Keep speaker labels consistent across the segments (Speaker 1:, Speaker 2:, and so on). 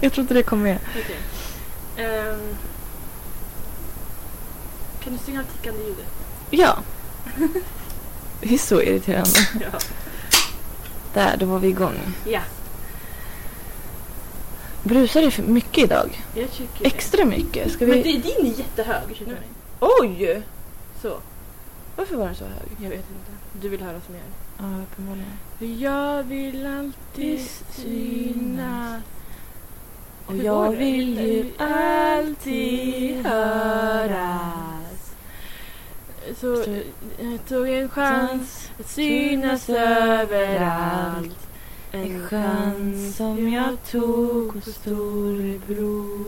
Speaker 1: Jag tror inte det kom med.
Speaker 2: Okej. Ehm, kan du stänga av tickande ljudet?
Speaker 1: Ja. Det är så irriterande.
Speaker 2: Ja.
Speaker 1: Där, då var vi igång.
Speaker 2: ja,
Speaker 1: Brusar det för mycket idag?
Speaker 2: jag tycker
Speaker 1: Extra mycket? Ska
Speaker 2: det. Men
Speaker 1: vi...
Speaker 2: det, din är jättehög känner jag.
Speaker 1: Oj!
Speaker 2: Så.
Speaker 1: Varför var den så hög?
Speaker 2: Jag vet inte. Du vill höra oss mer?
Speaker 1: Ja, uppenbarligen.
Speaker 2: Jag vill alltid synas.
Speaker 1: Och
Speaker 2: Hur
Speaker 1: jag
Speaker 2: går det?
Speaker 1: vill ju alltid höras.
Speaker 2: Så
Speaker 1: Så-
Speaker 2: jag tog en chans att synas överallt.
Speaker 1: En chans som jag tog hos storebror.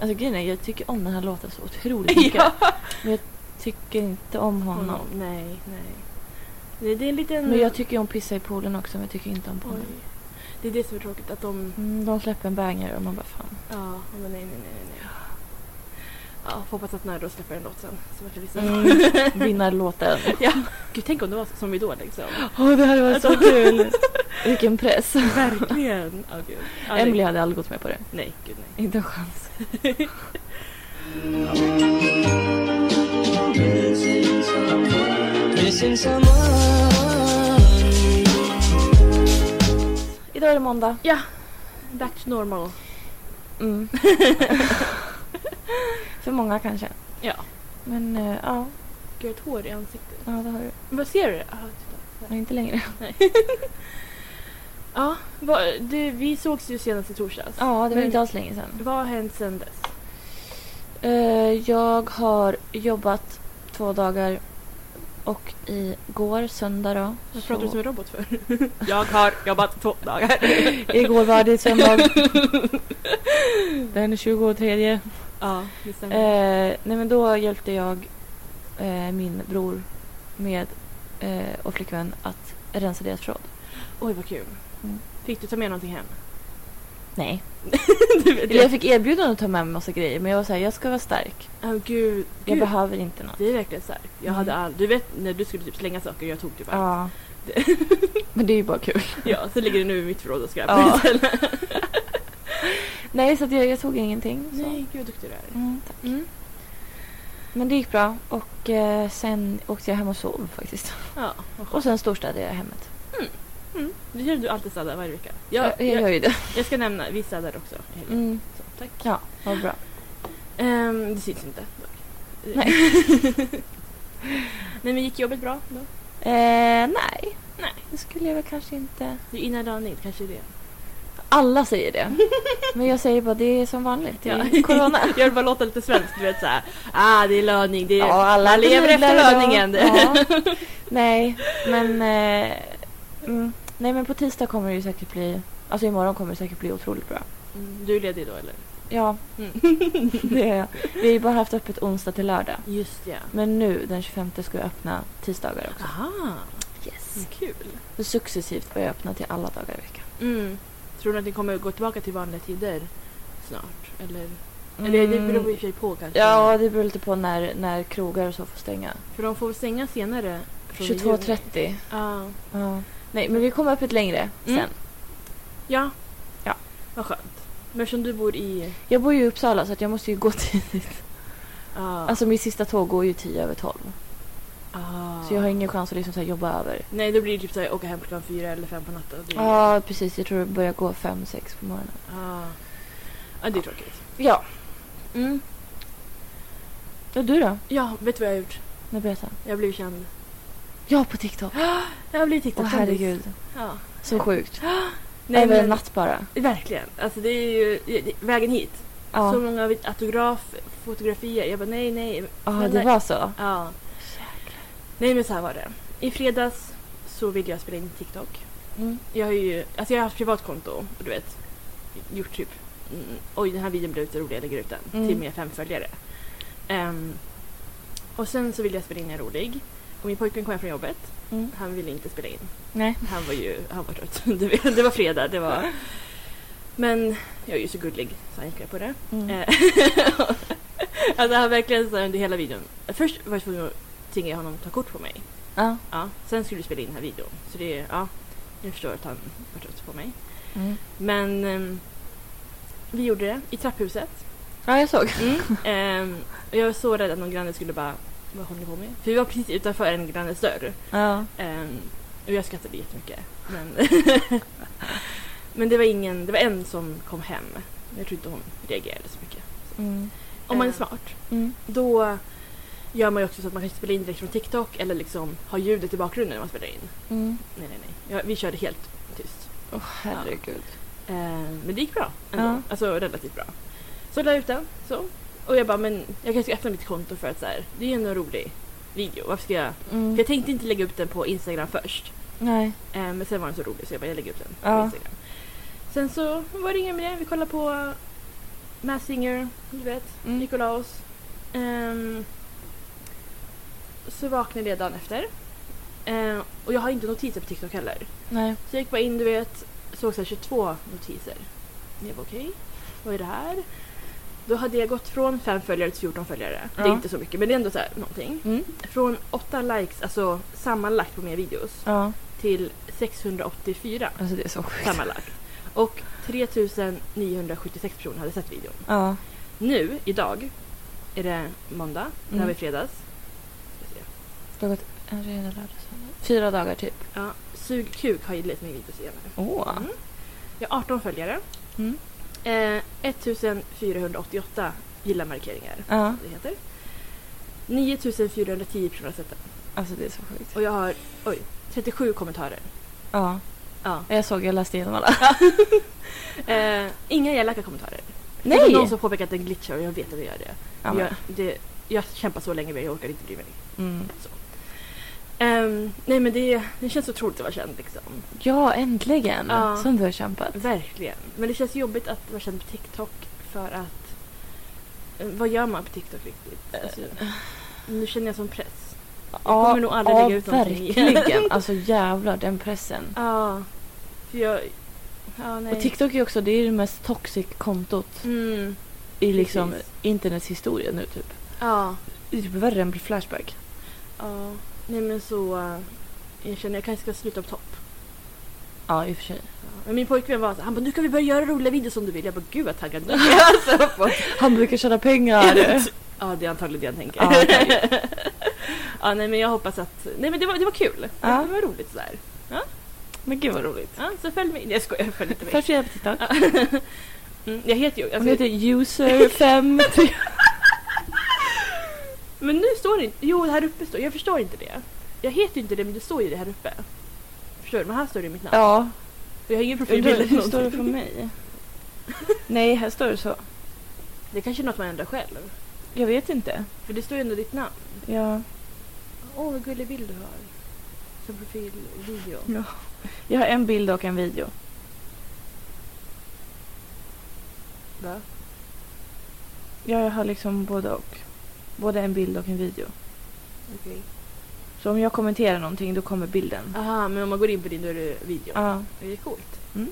Speaker 1: Alltså grejen är, jag tycker om den här låten så otroligt mycket.
Speaker 2: Ja.
Speaker 1: Tycker inte om honom.
Speaker 2: Honom. Nej, nej. Det, det är en liten...
Speaker 1: Men jag tycker ju om Pissa i poolen också, men jag tycker inte om
Speaker 2: Oj.
Speaker 1: honom.
Speaker 2: Det är det som är tråkigt. Att de...
Speaker 1: Mm, de släpper en banger och man bara fan.
Speaker 2: Ja, men nej, nej, nej, nej, nej. Ja, får hoppas att när då släpper en låt sen. Så vart det liksom...
Speaker 1: Mm, vinnarlåten.
Speaker 2: ja. Gud, tänk om det var så- som Idol liksom.
Speaker 1: Åh, det hade varit så kul! Vilken press.
Speaker 2: Verkligen. Ja, gud. Ja, nej.
Speaker 1: Emily hade aldrig gått med på det.
Speaker 2: Nej, gud nej.
Speaker 1: Inte en chans.
Speaker 3: Missing someone.
Speaker 1: Idag är det måndag.
Speaker 2: Back to normal.
Speaker 1: Mm. För många kanske.
Speaker 2: Ja.
Speaker 1: Men eh, ja,
Speaker 2: Gud, jag har ett hår i ansiktet.
Speaker 1: ja, det har du.
Speaker 2: Vad ser du? Ah, titta.
Speaker 1: Men inte längre.
Speaker 2: Ja, vad, du, vi sågs ju senast i torsdags.
Speaker 1: Ja, det var
Speaker 2: Men-
Speaker 1: inte alls länge sedan.
Speaker 2: Vad har hänt sen dess?
Speaker 1: Eh, jag har jobbat två dagar och igår, söndag då.
Speaker 2: Vad
Speaker 1: så-
Speaker 2: pratar du som en robot för? jag har jobbat två dagar.
Speaker 1: Igår var det söndag. Den 23.
Speaker 2: ja, det stämmer.
Speaker 1: Eh, nej men då hjälpte jag eh, min bror med eh, och flickvän att rensa deras förråd.
Speaker 2: Oj, vad kul.
Speaker 1: Mm.
Speaker 2: Fick du ta med någonting hem? e-
Speaker 1: Nej.
Speaker 2: du,
Speaker 1: Eller jag fick erbjudande att ta med mig massa grejer men jag var såhär, jag ska vara stark.
Speaker 2: Åh, gud.
Speaker 1: Jag
Speaker 2: gud.
Speaker 1: behöver inte något.
Speaker 2: Det är verkligen starkt. Jag
Speaker 1: Mm.
Speaker 2: hade all... Du vet när du skulle typ slänga saker jag tog typ
Speaker 1: Ja.
Speaker 2: allt.
Speaker 1: men det är ju bara kul.
Speaker 2: Ja, så ligger det nu i mitt förråd och skräpar
Speaker 1: Ja.
Speaker 2: istället.
Speaker 1: Nej så att jag, jag tog ingenting. Så.
Speaker 2: Nej, gud vad duktig du är.
Speaker 1: Mm, tack.
Speaker 2: Mm.
Speaker 1: Men det gick bra och eh, sen åkte jag hem och sov faktiskt.
Speaker 2: Ja, vad skönt.
Speaker 1: Och sen storstädade jag hemmet.
Speaker 2: Det gör du alltid städar varje vecka.
Speaker 1: Ja, jag, jag gör
Speaker 2: jag,
Speaker 1: ju det.
Speaker 2: jag ska nämna, vi städar också. i helgen.
Speaker 1: Mm,
Speaker 2: Så, tack.
Speaker 1: ja, vad bra.
Speaker 2: Ehm, det syns inte. dock.
Speaker 1: Nej.
Speaker 2: Nej, men gick jobbet bra då?
Speaker 1: Eh, nej.
Speaker 2: Nej.
Speaker 1: det skulle jag väl kanske inte.
Speaker 2: Det är innan dagen in, kanske det.
Speaker 1: Alla säger det. Men jag säger bara det är som vanligt. Det är
Speaker 2: Ja.
Speaker 1: corona.
Speaker 2: Jag vill bara låta lite svensk, du vet såhär. Ah, det är löning, det är...
Speaker 1: Ja, alla
Speaker 2: Man lever
Speaker 1: nudlar
Speaker 2: efter
Speaker 1: idag.
Speaker 2: löningen.
Speaker 1: Ja. Nej, men... Eh, mm, nej, men på tisdag kommer det ju säkert bli... Alltså imorgon kommer det säkert bli otroligt bra.
Speaker 2: Mm, Du är ledig då eller?
Speaker 1: Ja,
Speaker 2: Mm.
Speaker 1: det är jag. Vi har ju bara haft öppet onsdag till lördag.
Speaker 2: Just ja.
Speaker 1: Men nu den 25 ska vi öppna tisdagar också.
Speaker 2: Aha,
Speaker 1: Yes.
Speaker 2: kul.
Speaker 1: Så successivt börjar jag öppna till alla dagar i veckan.
Speaker 2: Mm. Tror du att ni kommer att gå tillbaka till vanliga tider snart? Eller, eller det beror i och för sig på kanske.
Speaker 1: Mm. Ja, det beror lite på när, när krogar och så får stänga.
Speaker 2: För de får väl stänga senare. från i juni.
Speaker 1: 22.30.
Speaker 2: Ja.
Speaker 1: Ja. Nej, men vi kommer öppet längre sen.
Speaker 2: Mm. Ja.
Speaker 1: Ja.
Speaker 2: Vad skönt. Men som du bor i...
Speaker 1: Jag bor ju i Uppsala så att jag måste ju gå tidigt.
Speaker 2: Ja.
Speaker 1: Alltså mitt sista tåg går ju 10 över 12.
Speaker 2: Ah.
Speaker 1: Så jag har ingen chans att liksom så här jobba över.
Speaker 2: Nej, då blir det typ såhär åka hem klockan fyra eller fem på natten. Det är-
Speaker 1: Ja, precis. Jag tror det börjar gå 5-6 på morgonen.
Speaker 2: Ah. Ja, det är tråkigt.
Speaker 1: Ja.
Speaker 2: Mm.
Speaker 1: Och du då?
Speaker 2: Ja, vet du vad jag har gjort?
Speaker 1: Nej, berätta.
Speaker 2: Jag har blivit känd.
Speaker 1: Ja, på TikTok.
Speaker 2: Jag har blivit
Speaker 1: Åh
Speaker 2: TikTok-kändis.
Speaker 1: herregud.
Speaker 2: Ja.
Speaker 1: Så sjukt.
Speaker 2: Nej,
Speaker 1: Över en
Speaker 2: men,
Speaker 1: natt bara.
Speaker 2: verkligen. Alltså det är ju... det- Vägen hit.
Speaker 1: Ja,
Speaker 2: Så många vet- autograf, fotografier. Jag bara nej, nej.
Speaker 1: ja det var så.
Speaker 2: Ja. Nej men så här var det. I fredags så ville jag spela in TikTok.
Speaker 1: Mm.
Speaker 2: Jag har ju, alltså jag har haft privatkonto och du vet, gjort typ, mm, oj den här videon blev lite rolig, jag lägger ut den
Speaker 1: Mm.
Speaker 2: till mina fem följare. Ehm, och sen så ville jag spela in en rolig. Och min pojkvän kom hem från jobbet.
Speaker 1: Mm.
Speaker 2: Han ville inte spela in.
Speaker 1: Nej.
Speaker 2: Han var ju han var trött. Du vet, Det var fredag. Det var... Men jag är ju så gullig så han gick med på det.
Speaker 1: Mm.
Speaker 2: Eh, alltså han verkligen så här under hela videon. Först var jag tvungen att tvinga honom att ta kort på mig.
Speaker 1: Ja.
Speaker 2: Ja, sen skulle vi spela in den här videon. Så det är, ja, jag förstår att han var trött på mig.
Speaker 1: Mm.
Speaker 2: Men ehm, Vi gjorde det i trapphuset.
Speaker 1: Ja, jag såg.
Speaker 2: Ehm, och jag var så rädd att någon granne skulle bara vad håller ni på med? För vi var precis utanför en grannes dörr.
Speaker 1: Ja.
Speaker 2: Ehm, och jag skrattade jättemycket. Men, men det, var ingen, det var en som kom hem. Jag tror inte hon reagerade så mycket.
Speaker 1: Mm.
Speaker 2: Om man är
Speaker 1: Eh.
Speaker 2: smart
Speaker 1: Mm.
Speaker 2: då gör man ju också så att man kan spela in direkt från TikTok eller liksom ha ljudet i bakgrunden när man spelar in.
Speaker 1: Mm.
Speaker 2: Nej, nej, nej. Ja, vi körde helt tyst.
Speaker 1: Åh, herregud.
Speaker 2: Eh, men det gick bra ändå.
Speaker 1: Ja.
Speaker 2: Alltså relativt bra. Så la jag ut den. Så. Och jag bara, men jag kanske ska öppna mitt konto för att så här, det är ju ändå en rolig video. Varför ska jag? För
Speaker 1: Mm.
Speaker 2: jag tänkte inte lägga upp den på Instagram först.
Speaker 1: Nej.
Speaker 2: Eh, men sen var den så rolig så jag bara, jag lägger upp den på
Speaker 1: Ja.
Speaker 2: Instagram. Sen så var det ingen med det. Vi kollade på Mass Singer, du vet.
Speaker 1: Mm.
Speaker 2: Nikolaus. Ehm, så vaknade jag dagen efter. Ehm, och jag har inte notiser på TikTok heller.
Speaker 1: Nej.
Speaker 2: Så jag gick bara in, du vet, såg så här 22 notiser. Jag var okej, vad är det här? Då hade jag gått från 5 följare till 14 följare. Det är
Speaker 1: Ja.
Speaker 2: inte så mycket, men det är ändå så här någonting.
Speaker 1: Mm.
Speaker 2: Från 8 likes, alltså sammanlagt på mina videos,
Speaker 1: Ja.
Speaker 2: till 684
Speaker 1: Alltså det är så sjukt.
Speaker 2: sammanlagt. Och 3976 personer hade sett videon.
Speaker 1: Ja.
Speaker 2: Nu, idag, är det måndag. Det här
Speaker 1: Mm.
Speaker 2: var i fredags. Ska se.
Speaker 1: Det har gått en fredag, lördag, söndag. Fyra dagar typ.
Speaker 2: Ja, Sug kuk har ju lite med videos att göra.
Speaker 1: Åh.
Speaker 2: Mm. Jag har 18 följare.
Speaker 1: Mm.
Speaker 2: Eh, 1488 gilla-markeringar.
Speaker 1: Ja.
Speaker 2: som Det heter. 9410 personer har sett den.
Speaker 1: Alltså det är så sjukt.
Speaker 2: Och jag har oj, 37 kommentarer.
Speaker 1: Ja.
Speaker 2: Ja.
Speaker 1: Jag såg, jag läste igenom alla.
Speaker 2: Eh, inga elaka kommentarer. Det var
Speaker 1: Nej!
Speaker 2: någon som påpekade att den glitchar och jag vet att den gör det.
Speaker 1: Ja, men.
Speaker 2: jag, det jag kämpar så länge men jag orkar inte bry mig.
Speaker 1: Mm.
Speaker 2: Ehm, nej men det, det känns otroligt att vara känd liksom.
Speaker 1: Ja, äntligen!
Speaker 2: Ja.
Speaker 1: Som du har kämpat.
Speaker 2: Verkligen. Men det känns jobbigt att vara känd på TikTok för att... eh, Vad gör man på TikTok riktigt? Alltså, nu känner jag som press. Jag kommer nog aldrig lägga ut någonting igen.
Speaker 1: verkligen. Alltså jävlar, den pressen.
Speaker 2: Ja. För jag... Ja, nej.
Speaker 1: Och TikTok är också det, är det mest toxic kontot
Speaker 2: Mm.
Speaker 1: i liksom
Speaker 2: precis.
Speaker 1: internets historia nu typ.
Speaker 2: Ja.
Speaker 1: Det är typ värre än Flashback.
Speaker 2: ja. Nej men så... eh, Jag känner jag kanske ska sluta på topp.
Speaker 1: Ja, i och för sig.
Speaker 2: Ja. Men min pojkvän var så han bara nu kan vi börja göra roliga videos om du vill. Jag bara gud vad taggad nu är. alltså, på-
Speaker 1: Han brukar tjäna pengar.
Speaker 2: Ja det är antagligen det han tänker.
Speaker 1: Ja,
Speaker 2: ja nej men jag hoppas att... Nej men det var, det var kul.
Speaker 1: Ja.
Speaker 2: Det var roligt sådär.
Speaker 1: Men gud vad roligt.
Speaker 2: Ja, så följ mig. Nej, Jag skojar, följ inte mig.
Speaker 1: Följ Frida på TikTok.
Speaker 2: Ja. Mm, jag heter ju...
Speaker 1: Hon
Speaker 2: Alltså,
Speaker 1: heter user5.
Speaker 2: Men nu står det inte... Jo, här uppe står Jag förstår inte det. Jag heter ju inte det, men det står ju det här uppe. Förstår du? Men här står det mitt namn.
Speaker 1: ja.
Speaker 2: Och jag har ingen profilbild
Speaker 1: Undrar,
Speaker 2: eller
Speaker 1: hur står det
Speaker 2: någonting.
Speaker 1: för mig? Nej, här står det så.
Speaker 2: Det kanske är något man ändrar själv.
Speaker 1: Jag vet inte.
Speaker 2: För det står ju ändå ditt namn.
Speaker 1: Jag,
Speaker 2: Åh, vad gullig bild du har. Som profilvideo.
Speaker 1: Mm. jag har en bild och en video.
Speaker 2: Va?
Speaker 1: Ja, jag har liksom både och. Både en bild och en video.
Speaker 2: Okej.
Speaker 1: Så om jag kommenterar någonting då kommer bilden.
Speaker 2: Aha, men om man går in på din då är det video.
Speaker 1: Ja.
Speaker 2: Det är coolt.
Speaker 1: Mm.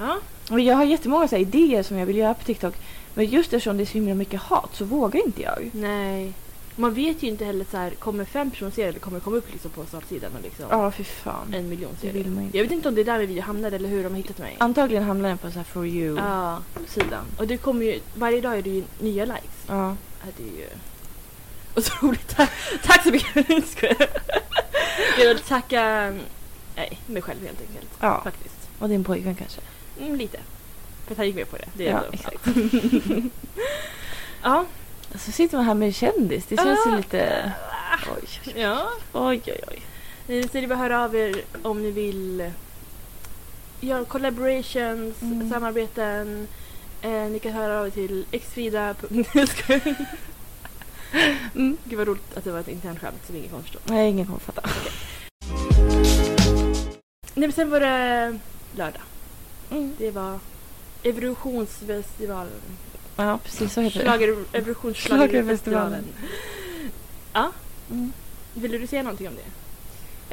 Speaker 2: Ja.
Speaker 1: Och jag har jättemånga så här idéer som jag vill göra på TikTok. Men just eftersom det är så himla mycket hat så vågar inte jag.
Speaker 2: Nej. Man vet ju inte heller så här, kommer fem personer se det eller kommer det komma upp liksom på startsidan och liksom
Speaker 1: Ja, fy fan.
Speaker 2: en miljon
Speaker 1: Det
Speaker 2: ser det.
Speaker 1: vill man inte.
Speaker 2: Jag vet inte om det är där min video hamnade eller hur de har hittat mig.
Speaker 1: Antagligen hamnar den på så här for
Speaker 2: Ja.
Speaker 1: you-sidan.
Speaker 2: Och det kommer ju, varje dag är det ju nya likes.
Speaker 1: Ja.
Speaker 2: Ja, det är ju otroligt. Tack, tack så mycket. Skojar. Jag vill tacka mm, nej, mig själv helt enkelt.
Speaker 1: ja.
Speaker 2: Faktiskt.
Speaker 1: Och din pojkvän kanske.
Speaker 2: Mm, lite. För att han gick med på det. Det är
Speaker 1: Ja,
Speaker 2: ändå-
Speaker 1: exakt.
Speaker 2: Ja.
Speaker 1: Så sitter man här med en kändis. Det känns ju
Speaker 2: Ja.
Speaker 1: lite... Oj,
Speaker 2: ja.
Speaker 1: oj, oj. oj.
Speaker 2: Eh, Så det är bara att höra av er om ni vill göra collaborations,
Speaker 1: Mm.
Speaker 2: samarbeten. Eh, ni kan höra av er till xfrida.
Speaker 1: Mm.
Speaker 2: Gud vad roligt att det var ett internt skämt som ingen kommer förstå.
Speaker 1: Nej, ingen kommer fatta.
Speaker 2: Nej men sen var det lördag.
Speaker 1: Mm.
Speaker 2: Det var Evolutionsfestivalen.
Speaker 1: Ja, precis så heter det.
Speaker 2: Schlager, Evolutionsschlagerfestivalen.
Speaker 1: Mm.
Speaker 2: Vill du säga någonting om det?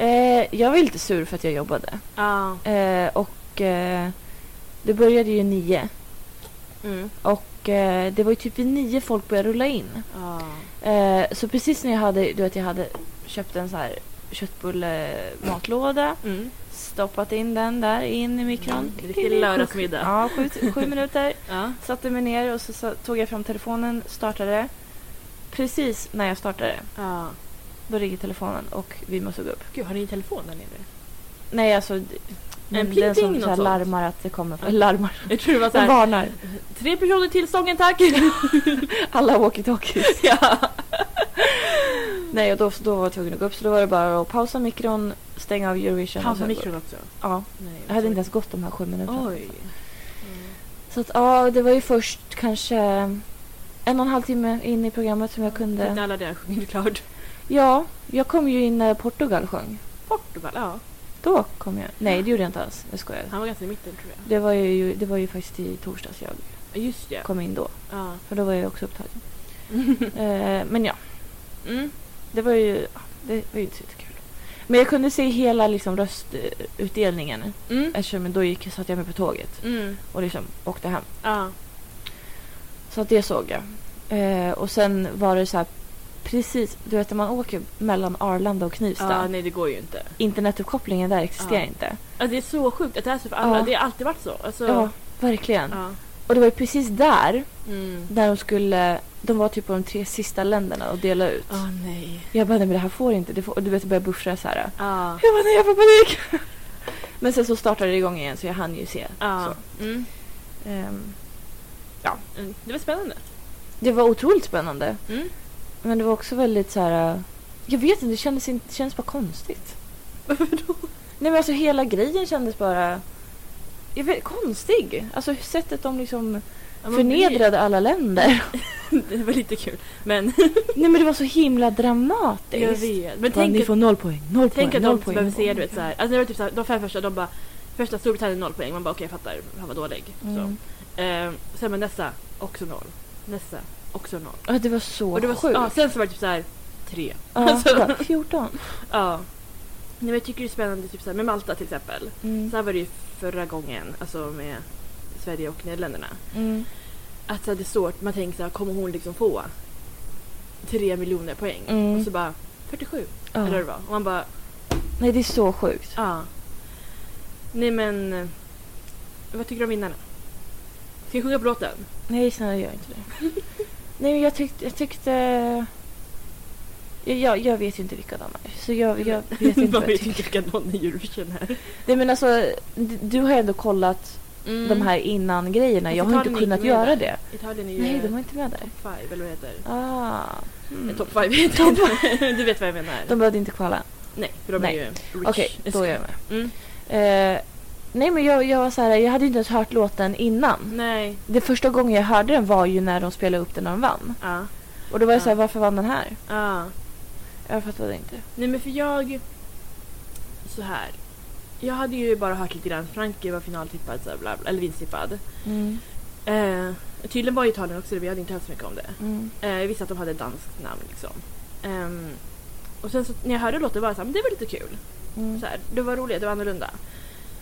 Speaker 1: Eh, jag var lite sur för att jag jobbade.
Speaker 2: Ja.
Speaker 1: Eh, och eh, det började ju nio.
Speaker 2: Mm.
Speaker 1: Och eh, det var ju typ vid nio folk började rulla in.
Speaker 2: Ja.
Speaker 1: Eh, så precis när jag hade, du vet jag hade köpt en så här köttbulle-matlåda.
Speaker 2: Mm.
Speaker 1: Stoppat in den där, in i mikron.
Speaker 2: Mm, riktig lördagsmiddag.
Speaker 1: Ja, sju, sju minuter.
Speaker 2: Ja.
Speaker 1: Satte mig ner och så, sa- tog jag fram telefonen, startade. Precis när jag startade,
Speaker 2: ja.
Speaker 1: då ringer telefonen och vi måste gå upp.
Speaker 2: Gud, har ni en telefon där nere?
Speaker 1: Nej, alltså... d-
Speaker 2: En
Speaker 1: den som
Speaker 2: pling-pling,
Speaker 1: så här
Speaker 2: något sånt.
Speaker 1: larmar att det kommer... Larmar.
Speaker 2: Jag tror det var så
Speaker 1: Den
Speaker 2: här,
Speaker 1: varnar.
Speaker 2: tre personer till stången tack!
Speaker 1: Alla walkie-talkies.
Speaker 2: ja.
Speaker 1: Nej, och då, då var jag tvungen att gå upp så då var det bara att pausa mikron, stänga av Eurovision. och
Speaker 2: Pausa
Speaker 1: sen gå
Speaker 2: mikron också.
Speaker 1: upp. Ja,
Speaker 2: Nej,
Speaker 1: jag hade inte ens gått de här sju minuterna.
Speaker 2: Oj. Mm.
Speaker 1: Så att, ja, det var ju först kanske en och en halv timme in i programmet som jag
Speaker 2: Inte
Speaker 1: kunde.
Speaker 2: alla där sjungit klart.
Speaker 1: Ja, jag kom ju in när Portugal sjöng.
Speaker 2: Portugal, ja.
Speaker 1: Då kom jag. Nej, det gjorde jag inte alls. Jag skojar.
Speaker 2: Han var ganska i mitten tror jag.
Speaker 1: Det var ju, det var ju faktiskt i torsdags jag
Speaker 2: Ja, Just det.
Speaker 1: kom in då.
Speaker 2: Ja.
Speaker 1: För då var jag också upptagen. eh, men ja. Mm. Det var ju ja, det var ju inte så kul. Men jag kunde se hela liksom, röstutdelningen
Speaker 2: Mm.
Speaker 1: eftersom då gick, satt jag med på tåget
Speaker 2: Mm.
Speaker 1: och liksom åkte hem.
Speaker 2: Ja.
Speaker 1: Så att det såg jag. Eh, och sen var det så här precis, du vet när man åker mellan Arlanda och Knivsta.
Speaker 2: ja, nej det går ju inte.
Speaker 1: internetuppkopplingen där existerar
Speaker 2: Ja.
Speaker 1: inte.
Speaker 2: Ja, det är så sjukt att det är så för alla.
Speaker 1: Ja.
Speaker 2: Det har alltid varit så. Alltså,
Speaker 1: Ja, verkligen.
Speaker 2: ja.
Speaker 1: Och det var ju precis där,
Speaker 2: Mm.
Speaker 1: där de skulle, de var typ på de tre sista länderna och dela ut.
Speaker 2: Åh nej.
Speaker 1: Jag bara, nej men det här får inte, det får, och du vet jag började buffra så här.
Speaker 2: Ja.
Speaker 1: Jag bara, nej jag får panik! men sen så startade det igång igen så jag hann ju se.
Speaker 2: Ja. Mm.
Speaker 1: Ehm,
Speaker 2: Mm. Det var spännande.
Speaker 1: det var otroligt spännande.
Speaker 2: Mm.
Speaker 1: Men det var också väldigt så här. äh, Jag vet inte, det kändes, inte, det kändes bara konstigt.
Speaker 2: Varför då?
Speaker 1: Nej men alltså hela grejen kändes bara... Jag vet, konstig. Alltså sättet de liksom
Speaker 2: Ja, man
Speaker 1: förnedrade alla länder.
Speaker 2: blir- Det var lite kul. Men
Speaker 1: Nej men det var så himla dramatiskt.
Speaker 2: jag vet. Men
Speaker 1: Bara,
Speaker 2: tänk
Speaker 1: ni
Speaker 2: att,
Speaker 1: får noll poäng, noll
Speaker 2: tänk
Speaker 1: poäng, noll
Speaker 2: att de inte
Speaker 1: poäng.
Speaker 2: behöver säga du vet såhär. Alltså det var typ såhär, de fem första de bara. Första Storbritannien noll poäng. Man bara okej jag fattar. Han var dålig.
Speaker 1: Mm.
Speaker 2: Så. Eh, sen men nästa också noll. Nästa också noll.
Speaker 1: Ja, det var så
Speaker 2: Och det var
Speaker 1: sjukt.
Speaker 2: Ja, sen så var det typ såhär tre.
Speaker 1: Ja,
Speaker 2: alltså.
Speaker 1: bara, 14.
Speaker 2: Ja. Nej, men jag tycker det är spännande typ så här, med Malta till exempel.
Speaker 1: Mm.
Speaker 2: Så här var det ju förra gången, alltså med Sverige och Nederländerna.
Speaker 1: Mm.
Speaker 2: Att så här, det är svårt, man tänker så här, kommer hon liksom få tre miljoner poäng?
Speaker 1: Mm.
Speaker 2: Och så bara 47
Speaker 1: Ja.
Speaker 2: eller vad det var. Och man bara,
Speaker 1: Nej det är så sjukt.
Speaker 2: ja. Nej men, eh, vad tycker du om vinnarna? Ska jag sjunga på låten?
Speaker 1: Nej snälla gör inte det. Nej men jag tyckte... Jag, tyckte... Jag, jag, jag vet ju inte vilka de är. Så jag, jag vet inte
Speaker 2: Man
Speaker 1: vad jag
Speaker 2: vet
Speaker 1: tycker.
Speaker 2: inte vilka någon i Eurovision här.
Speaker 1: Nej men alltså, d- du har ju ändå kollat Mm.
Speaker 2: Mm.
Speaker 1: de här innan-grejerna.
Speaker 2: Men
Speaker 1: Jag har ju
Speaker 2: Italien
Speaker 1: inte
Speaker 2: är
Speaker 1: kunnat
Speaker 2: inte med
Speaker 1: göra
Speaker 2: där.
Speaker 1: det.
Speaker 2: Italien är ju
Speaker 1: Nej,
Speaker 2: Nej,
Speaker 1: de var inte med där.
Speaker 2: five eller vad det heter Eh,
Speaker 1: Ah. Mm.
Speaker 2: Top five heter det. Du vet vad jag menar.
Speaker 1: De behövde inte kvala.
Speaker 2: Nej, för de
Speaker 1: Nej.
Speaker 2: är ju rich.
Speaker 1: Okej, då är jag med.
Speaker 2: Mm.
Speaker 1: Eh, nej men jag, jag var så här, jag hade ju inte ens hört låten innan.
Speaker 2: Nej.
Speaker 1: Det första gången jag hörde den var ju när de spelade upp den när de vann.
Speaker 2: Ja.
Speaker 1: Och då var jag
Speaker 2: Ja.
Speaker 1: så här, varför vann den här?
Speaker 2: ja.
Speaker 1: Jag fattade inte.
Speaker 2: Nej men för jag... Så här. Jag hade ju bara hört lite grann. Frankrike var finaltippad, så här, bla, bla, eller vinsttippad.
Speaker 1: Mm.
Speaker 2: Eh, tydligen var Italien också det, vi hade inte hört så mycket om det.
Speaker 1: Mm.
Speaker 2: Eh, jag visste att de hade danskt namn liksom. Ehm, och sen så, när jag hörde låten var jag såhär, men det var lite kul.
Speaker 1: Mm.
Speaker 2: Så här, det var roligt, det var annorlunda.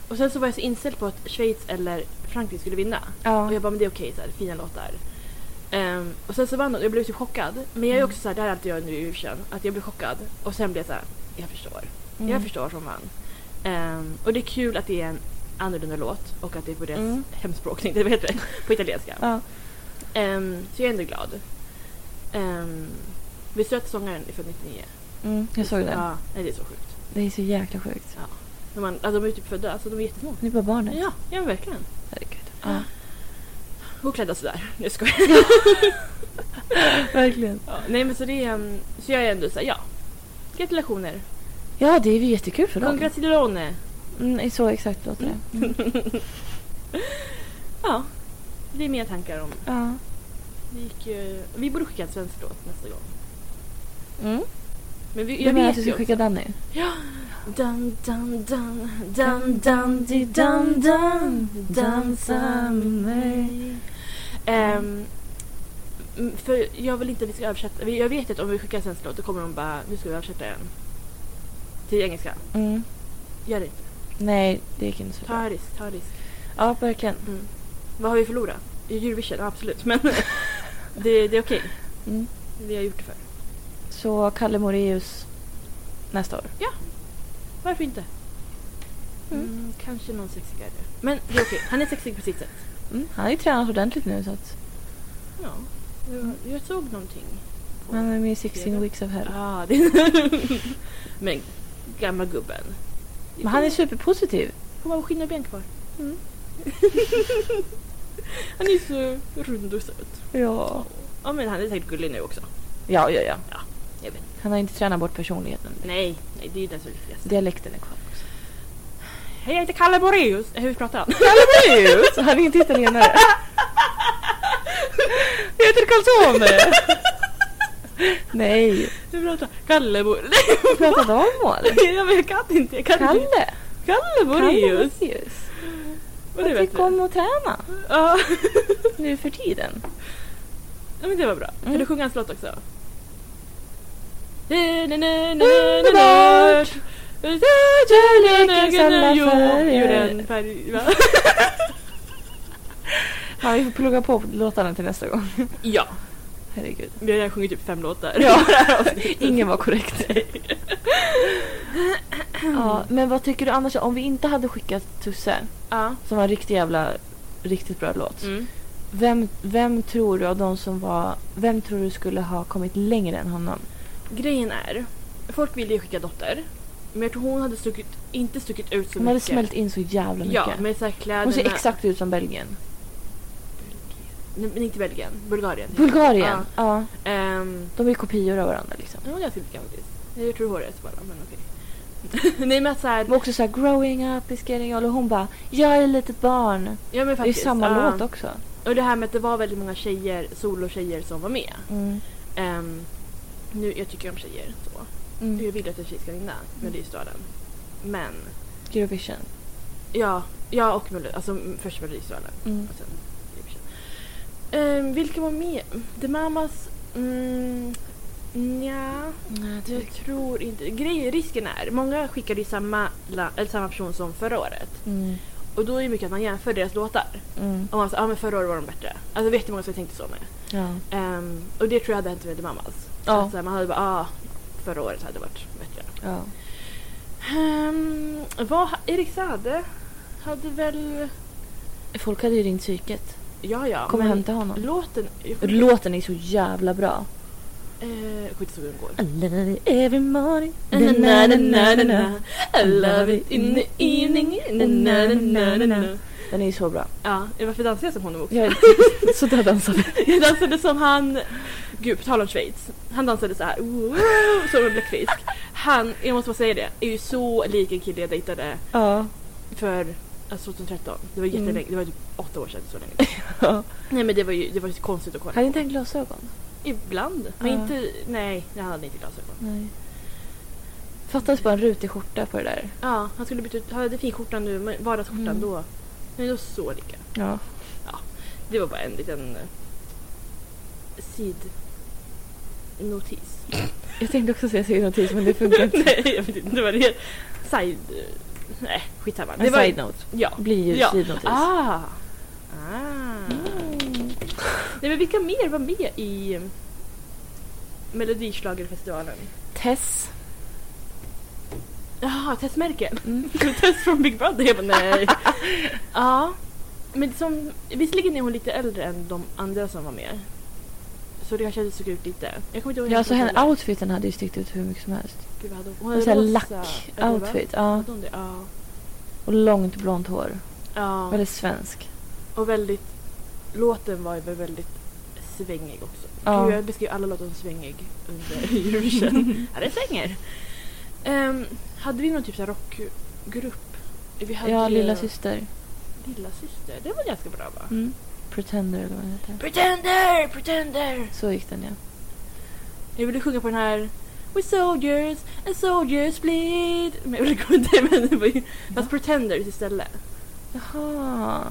Speaker 2: Och sen så var jag så inställd på att Schweiz eller Frankrike skulle vinna.
Speaker 1: Ja.
Speaker 2: Och jag bara, men det är okej, så här, fina låtar. Ehm, och sen så vann hon, jag blev typ chockad. Men jag är
Speaker 1: Mm.
Speaker 2: också så här, det här är alltid jag nu i Eurovision, att jag blir chockad. Och sen blev jag så här, jag förstår.
Speaker 1: Mm.
Speaker 2: Jag förstår som vann. Ehm, och det är kul att det är en annorlunda låt och att det är på deras
Speaker 1: Mm.
Speaker 2: hemspråkning, det vet jag, på italienska.
Speaker 1: Ja.
Speaker 2: Ehm, så jag är ändå glad. Um, Visste du att sångaren är född 99?
Speaker 1: Mm. Jag såg den.
Speaker 2: Ja, nej, det är så sjukt.
Speaker 1: Det är så jäkla sjukt.
Speaker 2: Men man, alltså, de är ju typ födda, alltså de är jättesmå.
Speaker 1: Nu är bara barnet.
Speaker 2: Ja, ja verkligen.
Speaker 1: Herregud. Ja.
Speaker 2: Och klädda sådär. Nu ska jag
Speaker 1: Verkligen.
Speaker 2: Ja, nej men så det är en, så jag är ändå såhär, ja. Gratulationer.
Speaker 1: Ja, det är ju jättekul för dem.
Speaker 2: Congratulazione.
Speaker 1: Mm, så exakt låter det.
Speaker 2: Ja. Det är mina tankar om.
Speaker 1: Ja.
Speaker 2: Vi, gick ju, vi borde skicka en svensk låt nästa gång.
Speaker 1: Mm.
Speaker 2: Men vi,
Speaker 1: Jag
Speaker 2: jag
Speaker 1: menar att
Speaker 2: vet
Speaker 1: du
Speaker 2: ju
Speaker 1: ska
Speaker 2: också.
Speaker 1: skicka Danny?
Speaker 2: Dun, dun, dun, dun, dun, di, dun, dun, dansa med mig. Ehm, mm, för jag vill inte att vi ska översätta. Jag vet att om vi skickar en svensk låt då kommer de bara, nu ska vi översätta den. Till engelska.
Speaker 1: Mm.
Speaker 2: Gör det inte.
Speaker 1: Nej, det gick inte så
Speaker 2: Ta
Speaker 1: bra.
Speaker 2: en risk, ta en risk.
Speaker 1: Ja, verkligen.
Speaker 2: Mm. Vad har vi förlorat? Eurovision, ja, absolut. Men det, det är okej.
Speaker 1: Mm.
Speaker 2: Vi har gjort det för.
Speaker 1: Så Kalle Moreus nästa år.
Speaker 2: Varför inte?
Speaker 1: Mm.
Speaker 2: Mm. kanske någon sexigare. Men det är okej, han är sexig på sitt sätt.
Speaker 1: Mm. Han har ju tränat ordentligt nu så att
Speaker 2: Ja, jag, jag såg någonting. på-
Speaker 1: han är med i 16 weeks of hell.
Speaker 2: Ah, det... Men gamla gubben.
Speaker 1: Men han är superpositiv.
Speaker 2: Kommer ha skinn och ben kvar.
Speaker 1: Mm.
Speaker 2: han är så rund och söt.
Speaker 1: Ja.
Speaker 2: Ja men han är säkert gullig nu också.
Speaker 1: Ja, ja, ja.
Speaker 2: Ja, jag vet.
Speaker 1: Han har inte tränat bort personligheten.
Speaker 2: Nej, nej det är ju det som är viktigast.
Speaker 1: Dialekten är kvar.
Speaker 2: Hej jag heter Kalle Boreus. Eh, Hur pratar han?
Speaker 1: Absolut! Han är inte italienare. Jag heter calzone! Nej,
Speaker 2: Hur pratar han? Kalle Boreus.
Speaker 1: vad pratar de om?
Speaker 2: Nej men jag kan inte. Jag kan inte.
Speaker 1: Kalle!
Speaker 2: Kalle
Speaker 1: Kalle
Speaker 2: Boreus.
Speaker 1: Boreus.
Speaker 2: Vad
Speaker 1: Jag
Speaker 2: du vet
Speaker 1: tycker
Speaker 2: det.
Speaker 1: om att träna
Speaker 2: Ja.
Speaker 1: nu för tiden.
Speaker 2: Ja men det var bra. Kan
Speaker 1: Mm.
Speaker 2: du sjunga hans låt också?
Speaker 1: Underbart! Kärlekens alla
Speaker 2: Jo,
Speaker 1: färger.
Speaker 2: djuren, färg- va?
Speaker 1: Ja, vi får plugga på låtarna till nästa gång.
Speaker 2: Ja,
Speaker 1: Herregud.
Speaker 2: vi har redan sjungit typ fem låtar.
Speaker 1: Ja, ingen var korrekt. Ja, men vad tycker du annars om vi inte hade skickat Tusse,
Speaker 2: Ja.
Speaker 1: som var en riktig jävla, riktigt bra låt.
Speaker 2: Mm.
Speaker 1: Vem, vem tror du av de som var, vem tror du skulle ha kommit längre än honom?
Speaker 2: Grejen är, folk ville ju skicka Dotter. Men jag tror hon hade stuckit, inte stuckit ut så
Speaker 1: Hon hade
Speaker 2: mycket.
Speaker 1: smält in så jävla mycket.
Speaker 2: Ja, med såhär kläderna.
Speaker 1: Hon ser exakt ut som Belgien.
Speaker 2: Nej, men inte Belgien. Bulgarien.
Speaker 1: Bulgarien! Ja.
Speaker 2: Ehm,
Speaker 1: de är kopior av varandra liksom.
Speaker 2: Ja, hon är ganska lika faktiskt. Jag tror håret bara, men okej. Nej men att såhär,
Speaker 1: De var också såhär growing up is getting old och hon bara jag är lite barn.
Speaker 2: ja men faktiskt.
Speaker 1: det är samma
Speaker 2: ja.
Speaker 1: låt också.
Speaker 2: Och det här med att det var väldigt många tjejer, solotjejer som var med.
Speaker 1: Mm.
Speaker 2: Ehm, nu, jag tycker om tjejer så. Jag
Speaker 1: Mm.
Speaker 2: vill att en tjej ska vinna
Speaker 1: Mm.
Speaker 2: Melodifestivalen. Men,
Speaker 1: Eurovision.
Speaker 2: ja, ja och Melodi, alltså m- först Melodifestivalen
Speaker 1: Mm.
Speaker 2: och sen Eurovision. Ehm, vilka var med? The Mamas? Mm, nja,
Speaker 1: Nej, det-
Speaker 2: jag tror inte... Grejen, risken är, många skickade ju samma, la, eller samma person som förra året.
Speaker 1: Mm.
Speaker 2: Och då är det mycket att man jämför deras låtar.
Speaker 1: Mm.
Speaker 2: Och man säger, ah, men förra året var de bättre. Alltså det var jättemånga som jag tänkte så med.
Speaker 1: Ja.
Speaker 2: Ehm, och det tror jag hade hänt med The Mamas.
Speaker 1: Ja.
Speaker 2: Så att, så här, man hade bara, ah, förra året hade varit bättre.
Speaker 1: ja.
Speaker 2: Ehm, vad, ha- Erik Saade hade väl,
Speaker 1: Folk hade ju ringt psyket.
Speaker 2: ja ja.
Speaker 1: Kom och
Speaker 2: men
Speaker 1: hämta honom.
Speaker 2: Låten, jag kommer inte-
Speaker 1: Låten är så jävla bra.
Speaker 2: eh, jag kommer inte ihåg hur den går.
Speaker 1: I love it every morning.
Speaker 2: Na, na, na, na, na. I love it in the evening. Na, na, na, na, na.
Speaker 1: Den är ju så bra.
Speaker 2: Ja, varför dansar jag som honom också?
Speaker 1: Jag så där dansar vi.
Speaker 2: Jag dansade som han, gud på tal om Schweiz, han dansade så här, wow, som en bläckfisk. Han, jag måste bara säga det, är ju så lik en kille jag dejtade
Speaker 1: Ja.
Speaker 2: för alltså 2013. Det var
Speaker 1: Mm.
Speaker 2: jättelänge, det var typ åtta år sedan så länge.
Speaker 1: Ja.
Speaker 2: Nej men det var ju det var ju konstigt att kolla.
Speaker 1: Hade inte han glasögon?
Speaker 2: Ibland, men
Speaker 1: Ja.
Speaker 2: inte, nej, nej, han hade inte glasögon.
Speaker 1: Nej. Fattades bara en rutig skjorta på det där.
Speaker 2: Ja, han skulle byta ut, han hade finskjortan nu, men vardagsskjortan
Speaker 1: Mm.
Speaker 2: då. Men det var så lika.
Speaker 1: Ja.
Speaker 2: Det var bara en liten eh, sidnotis.
Speaker 1: Jag tänkte också säga sidnotis men det funkar inte.
Speaker 2: Nej, jag vet inte vad det är. Side... Nej, skitsamma.
Speaker 1: En
Speaker 2: Det var,
Speaker 1: side note
Speaker 2: ja.
Speaker 1: blir ju
Speaker 2: Ja.
Speaker 1: sidnotis.
Speaker 2: Ah. Ah. Nej, men vilka mer var med i Melodischlagerfestivalen?
Speaker 1: Tess.
Speaker 2: Jaha, Tess Merkel.
Speaker 1: Mm.
Speaker 2: Tess från Big Brother. Jag bara, nej. ja. Men som, visserligen är hon lite äldre än de andra som var med. Så det kanske hade stuckit ut lite. Jag kommer inte ihåg
Speaker 1: Ja, så
Speaker 2: hennes
Speaker 1: henne outfiten hade ju stickt ut hur mycket som helst.
Speaker 2: Gud, vad hade hon?
Speaker 1: Och
Speaker 2: Hon
Speaker 1: så här
Speaker 2: hade
Speaker 1: lack-outfit. Ja.
Speaker 2: Hade hon det? Ja.
Speaker 1: Och långt blont hår.
Speaker 2: ja.
Speaker 1: Väldigt svensk.
Speaker 2: Och väldigt... Låten var ju väldigt svängig också.
Speaker 1: Ja.
Speaker 2: Gud, jag beskrev alla låtar som svängig under Eurovision. Här är svänger! Ehm, hade vi någon typ av rockgrupp? Vi hade
Speaker 1: Ja,
Speaker 2: ju-
Speaker 1: lilla syster.
Speaker 2: Lilla syster, det var ganska bra va?
Speaker 1: Mm. Pretender eller vad den heter.
Speaker 2: Pretender! Pretender!
Speaker 1: Så gick den ja.
Speaker 2: Jag ville sjunga på den här We're soldiers and soldiers bleed Men jag ville gå inte men det var ju... Fast Pretenders istället.
Speaker 1: Jaha.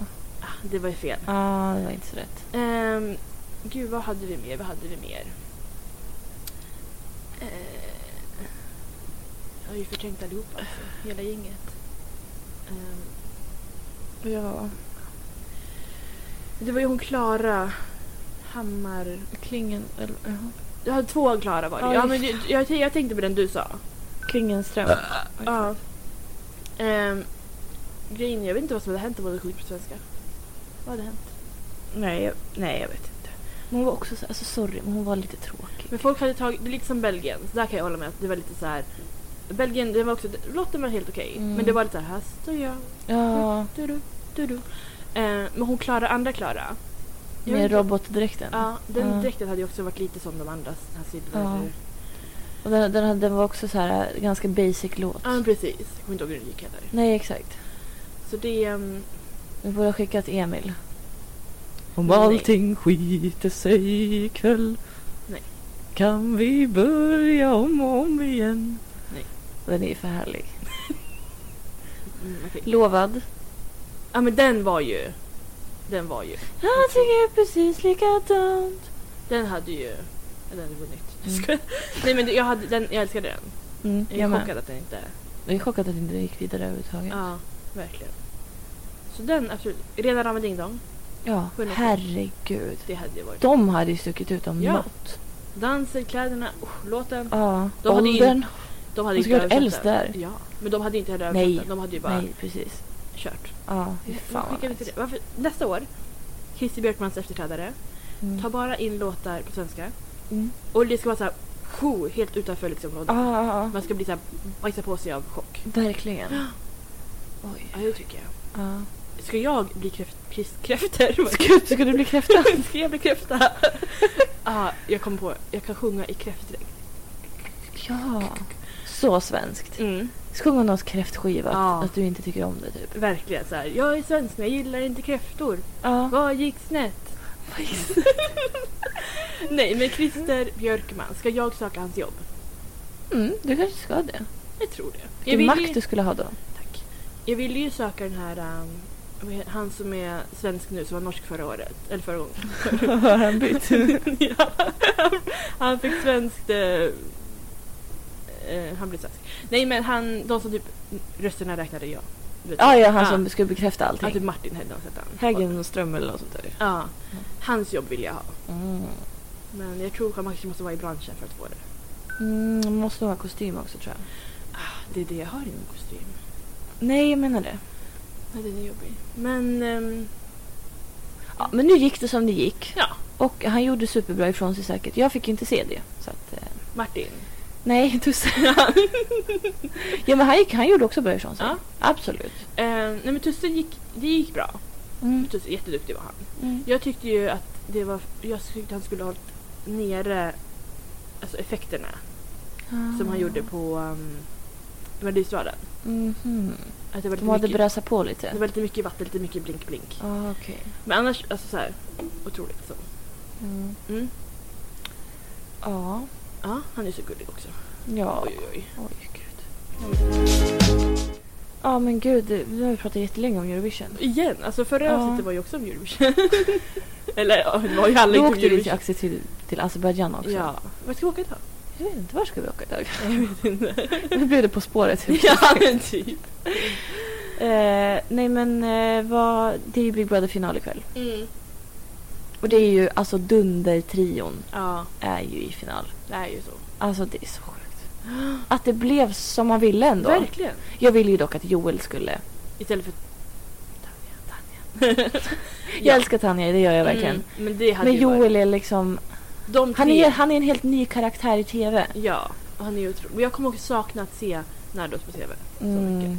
Speaker 2: Ah, det var ju fel.
Speaker 1: Ja, Ah, det var inte så rätt.
Speaker 2: Ehm, gud, vad hade vi mer? Vad hade vi mer? Eh, jag har ju förträngt allihopa, alltså, hela gänget. Ehm,
Speaker 1: Ja.
Speaker 2: det var ju hon Klara Hammar...
Speaker 1: Klingen eller... jaha.
Speaker 2: Jag hade två Klara var det.
Speaker 1: Ja,
Speaker 2: Ja,
Speaker 1: just
Speaker 2: men jag, jag, jag tänkte på den du sa.
Speaker 1: Klingenström.
Speaker 2: Ja. Ehm, grejen, jag vet inte vad som hade hänt om hon hade sjungit på svenska. Vad hade hänt?
Speaker 1: Nej, jag, nej, jag vet inte. Men hon var också så, alltså sorry, men hon var lite tråkig.
Speaker 2: Men folk hade tagit, det är lite som Belgien, så där kan jag hålla med att det var lite så här. Belgien, det var också, låten var helt okej.
Speaker 1: Mm.
Speaker 2: Men det var lite så här, här står jag,
Speaker 1: Ja,
Speaker 2: du, du, du, du. Eh, men hon Klara, andra Klara. jag vet
Speaker 1: med
Speaker 2: inte.
Speaker 1: robotdräkten.
Speaker 2: Ja, den
Speaker 1: Ja.
Speaker 2: dräkten hade ju också varit lite som de andra. så Här
Speaker 1: Ja.
Speaker 2: ja.
Speaker 1: Och den, den, hade- den var också så här äh, ganska basic låt.
Speaker 2: ja, men precis. Jag kommer inte ihåg hur den gick heller.
Speaker 1: Nej, exakt.
Speaker 2: Så det... ehm,
Speaker 1: Vi borde ha skickat Emil. Om
Speaker 2: Nej.
Speaker 1: allting skiter sig ikväll
Speaker 2: Nej.
Speaker 1: kan vi börja om och om igen.
Speaker 2: Nej.
Speaker 1: Den är ju för härlig.
Speaker 2: Mm, okej.
Speaker 1: Lovad.
Speaker 2: Ja men den var ju... Den var ju...
Speaker 1: Allting är precis likadant.
Speaker 2: Den hade ju... ja, Den hade vunnit. Jag skojar. Nej men det- jag, hade, den, jag älskade den.
Speaker 1: Mm,
Speaker 2: Jag är chockad att den inte...
Speaker 1: Jag är chockad att det inte gick vidare överhuvudtaget.
Speaker 2: Ja, verkligen. Så den absolut. Rena rama ding dong.
Speaker 1: Ja,
Speaker 2: Full effekt.
Speaker 1: herregud.
Speaker 2: Det hade ju varit.
Speaker 1: De hade ju stuckit ut om
Speaker 2: Ja.
Speaker 1: något.
Speaker 2: Dansen, kläderna, usch, låten.
Speaker 1: Ja.
Speaker 2: De hade ju
Speaker 1: Åldern.
Speaker 2: De hade
Speaker 1: De skulle ha varit
Speaker 2: översatt
Speaker 1: äldst där.
Speaker 2: Ja, men de hade inte heller
Speaker 1: Nej.
Speaker 2: översatt den. De hade ju bara
Speaker 1: Nej, precis.
Speaker 2: kört.
Speaker 1: Ja, fy
Speaker 2: Nu
Speaker 1: fan
Speaker 2: skickar
Speaker 1: vad
Speaker 2: vi till
Speaker 1: nice.
Speaker 2: det. Varför? Nästa år, Christer Björkmans efterträdare.
Speaker 1: Mm.
Speaker 2: Ta bara in låtar på svenska.
Speaker 1: Mm.
Speaker 2: Och det ska vara så här, "Ho", helt utanför liksom
Speaker 1: Ja,
Speaker 2: rådet.
Speaker 1: ja, ja.
Speaker 2: Man ska bli så här, bajsa på sig av chock.
Speaker 1: Verkligen. Oj.
Speaker 2: Ja, det tycker jag.
Speaker 1: Ja.
Speaker 2: Ska jag bli kräft, kris- kräfter?
Speaker 1: Ska, ska du bli kräfta?
Speaker 2: ska jag bli kräfta? ah, jag kom på, jag kan sjunga i kräftdräkt.
Speaker 1: Ja. Så svenskt.
Speaker 2: Mm.
Speaker 1: Sjung om något kräftskiva.
Speaker 2: Ja.
Speaker 1: Att du inte tycker om det typ.
Speaker 2: Verkligen så här. jag är svensk men jag gillar inte kräftor.
Speaker 1: Ja.
Speaker 2: Vad gick snett? Nej, men Christer Björkman, ska jag söka hans jobb?
Speaker 1: Mm, du kanske ska det.
Speaker 2: Jag tror det.
Speaker 1: Vilken
Speaker 2: Jag vill
Speaker 1: makt
Speaker 2: ju,
Speaker 1: du skulle ha då.
Speaker 2: tack. Jag ville ju söka den här, um, vad heter- han som är svensk nu som var norsk förra året, eller förra gången.
Speaker 1: Har han bytt?
Speaker 2: ja, han fick svenskt... Eh, eh, han blev svensk. Nej men han, de som typ rösterna räknade ja. Du vet.
Speaker 1: Ah,
Speaker 2: Ah,
Speaker 1: Ja, ja, han som skulle bekräfta
Speaker 2: Ja, typ
Speaker 1: allting.
Speaker 2: Martin hette han. så hette han.
Speaker 1: Häggen och Ström eller något sånt där.
Speaker 2: Ja. Hans jobb vill jag ha.
Speaker 1: Mm.
Speaker 2: Men jag tror att man kanske måste vara i branschen för att få det.
Speaker 1: Mm, måste nog ha kostym också tror jag.
Speaker 2: Det är det jag har i min kostym.
Speaker 1: Nej, jag menar det.
Speaker 2: Ja, den är jobbig. Men... ehm,
Speaker 1: Ja, men nu gick det som det gick.
Speaker 2: Ja.
Speaker 1: Och han gjorde superbra ifrån sig säkert. Jag fick inte se det. Så att, eh,
Speaker 2: Martin.
Speaker 1: nej, Tusse. ja, men han, gick, han gjorde också bra ifrån sig.
Speaker 2: Ja.
Speaker 1: Absolut. Mm.
Speaker 2: Eh, nej men Tusse gick, det gick bra. Tusse, jätteduktig var han. Jag tyckte ju att det var, jag tyckte han skulle ha hållit nere alltså effekterna
Speaker 1: Mm.
Speaker 2: som
Speaker 1: Ah.
Speaker 2: han gjorde på um, Melodifestivalen.
Speaker 1: Mhm.
Speaker 2: Att det var lite
Speaker 1: De hade
Speaker 2: mycket-
Speaker 1: brösat på
Speaker 2: Det
Speaker 1: lite.
Speaker 2: var lite mycket vatten, lite mycket blink-blink.
Speaker 1: Ah, okej.
Speaker 2: Men annars, alltså så här, otroligt så.
Speaker 1: Mm.
Speaker 2: Mm.
Speaker 1: Ja.
Speaker 2: Ja, han är så gullig också.
Speaker 1: Ja.
Speaker 2: Oj, oj, oj.
Speaker 1: Oj, gud. Ja, men gud. Nu har vi pratat jättelänge om Eurovision.
Speaker 2: Igen, alltså förra
Speaker 1: Ja.
Speaker 2: avsnittet var ju också om Eurovision. Eller ja, det var ju alla
Speaker 1: Då
Speaker 2: inte om
Speaker 1: åkte vi till,
Speaker 2: Eurovision.
Speaker 1: Axel till, till Azerbajdzjan också.
Speaker 2: Ja. Vart ska vi åka idag?
Speaker 1: Jag vet inte, var ska vi åka idag?
Speaker 2: Jag vet inte.
Speaker 1: Nu blev det På spåret.
Speaker 2: ja, men typ.
Speaker 1: Eh, nej men eh, vad, det är ju Big Brother final ikväll.
Speaker 2: Mm.
Speaker 1: Och det är ju alltså Dunder-trion
Speaker 2: Ja,
Speaker 1: är ju i final.
Speaker 2: det är ju så.
Speaker 1: Alltså det är så sjukt. Att det blev som man ville ändå.
Speaker 2: Verkligen.
Speaker 1: Jag ville ju dock att Joel skulle.
Speaker 2: Istället för...
Speaker 1: Jag
Speaker 2: Ja.
Speaker 1: älskar Tanja, det gör jag verkligen.
Speaker 2: Mm, men det hade
Speaker 1: Men
Speaker 2: ju varit...
Speaker 1: Joel är liksom,
Speaker 2: De
Speaker 1: han
Speaker 2: tre-
Speaker 1: är, han är en helt ny karaktär i TV.
Speaker 2: Ja, och han är ju otrolig. Och Jag kommer också sakna att se Nardos på TV.
Speaker 1: Mm.
Speaker 2: mycket.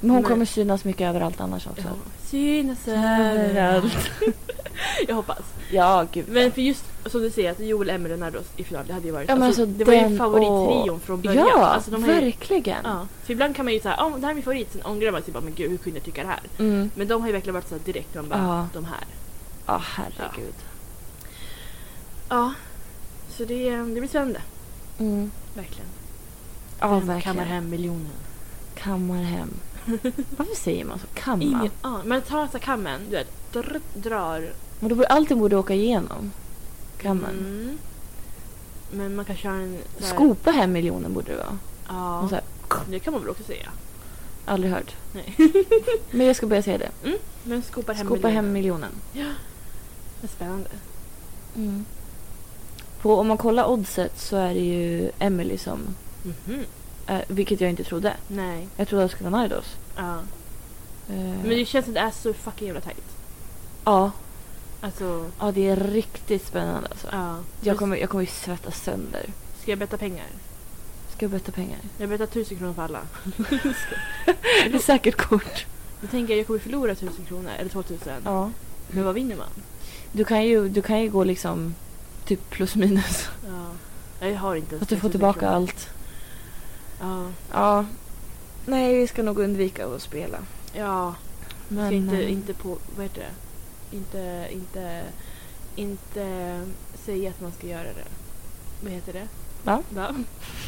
Speaker 1: Men hon
Speaker 2: Men-
Speaker 1: kommer synas mycket överallt annars också.
Speaker 2: Ja. Synas överallt. Jag hoppas.
Speaker 1: Ja, gud.
Speaker 2: Men för just som du säger, att Joel, Emelie och Nardos i final, det hade ju varit...
Speaker 1: Ja, men alltså,
Speaker 2: det var ju
Speaker 1: den-
Speaker 2: favorittrion från början.
Speaker 1: ja,
Speaker 2: alltså, de har ju,
Speaker 1: verkligen.
Speaker 2: ja. För ibland kan man ju säga ja det här är min favorit, sen ångrar man sig bara, men gud hur kunde jag tycka det här?
Speaker 1: Mm.
Speaker 2: Men de har ju verkligen varit så här direkt, man bara,
Speaker 1: Ja.
Speaker 2: de här.
Speaker 1: ja herregud.
Speaker 2: Ja. Så det, det blir spännande.
Speaker 1: Mm.
Speaker 2: Verkligen.
Speaker 1: Ja,
Speaker 2: Vem
Speaker 1: verkligen.
Speaker 2: kammar hem miljonen?
Speaker 1: Kammarhem. Varför säger man så? Kamma?
Speaker 2: Ingen, ja, men ta så här kammen, du vet, drr, drar
Speaker 1: Men då borde alltid borde åka igenom kammen.
Speaker 2: Mm. Men man kan köra en... så här-
Speaker 1: Skopa hem miljonen borde det vara.
Speaker 2: Ja.
Speaker 1: Och Så här,
Speaker 2: Det kan man väl också säga.
Speaker 1: aldrig hört.
Speaker 2: Nej.
Speaker 1: Men jag ska börja säga det.
Speaker 2: Men skopar Mm. hem
Speaker 1: Skopa hem
Speaker 2: miljoner.
Speaker 1: miljonen.
Speaker 2: Vad Spännande.
Speaker 1: Mm. På, om man kollar oddset så är det ju Emily som
Speaker 2: Mhm.
Speaker 1: eh, vilket jag inte trodde.
Speaker 2: Nej.
Speaker 1: Jag trodde att det skulle vara Nidos.
Speaker 2: Ja.
Speaker 1: Eh,
Speaker 2: Men det känns att det är så fucking jävla tajt.
Speaker 1: ja,
Speaker 2: Alltså,
Speaker 1: ja, det är riktigt spännande alltså.
Speaker 2: ja.
Speaker 1: Jag kommer, jag kommer ju svettas sönder.
Speaker 2: Ska jag betta pengar?
Speaker 1: Ska jag betta pengar?
Speaker 2: Jag bettar tusen kronor för alla.
Speaker 1: Det är säkert kort.
Speaker 2: Då tänker jag jag kommer förlora tusen kronor, eller två tusen.
Speaker 1: Ja.
Speaker 2: Men vad vinner man?
Speaker 1: Du kan ju, du kan ju gå liksom typ plus minus.
Speaker 2: Ja. Nej, Jag har inte ens
Speaker 1: Att du får
Speaker 2: 1000
Speaker 1: tillbaka
Speaker 2: kronor.
Speaker 1: allt.
Speaker 2: Ja.
Speaker 1: Ja. Nej, vi ska nog undvika att spela.
Speaker 2: Ja.
Speaker 1: Men,
Speaker 2: ska inte,
Speaker 1: eh,
Speaker 2: inte på, vad heter det? Inte, inte, inte säga att man ska göra det. Vad heter det?
Speaker 1: Va?
Speaker 2: Va?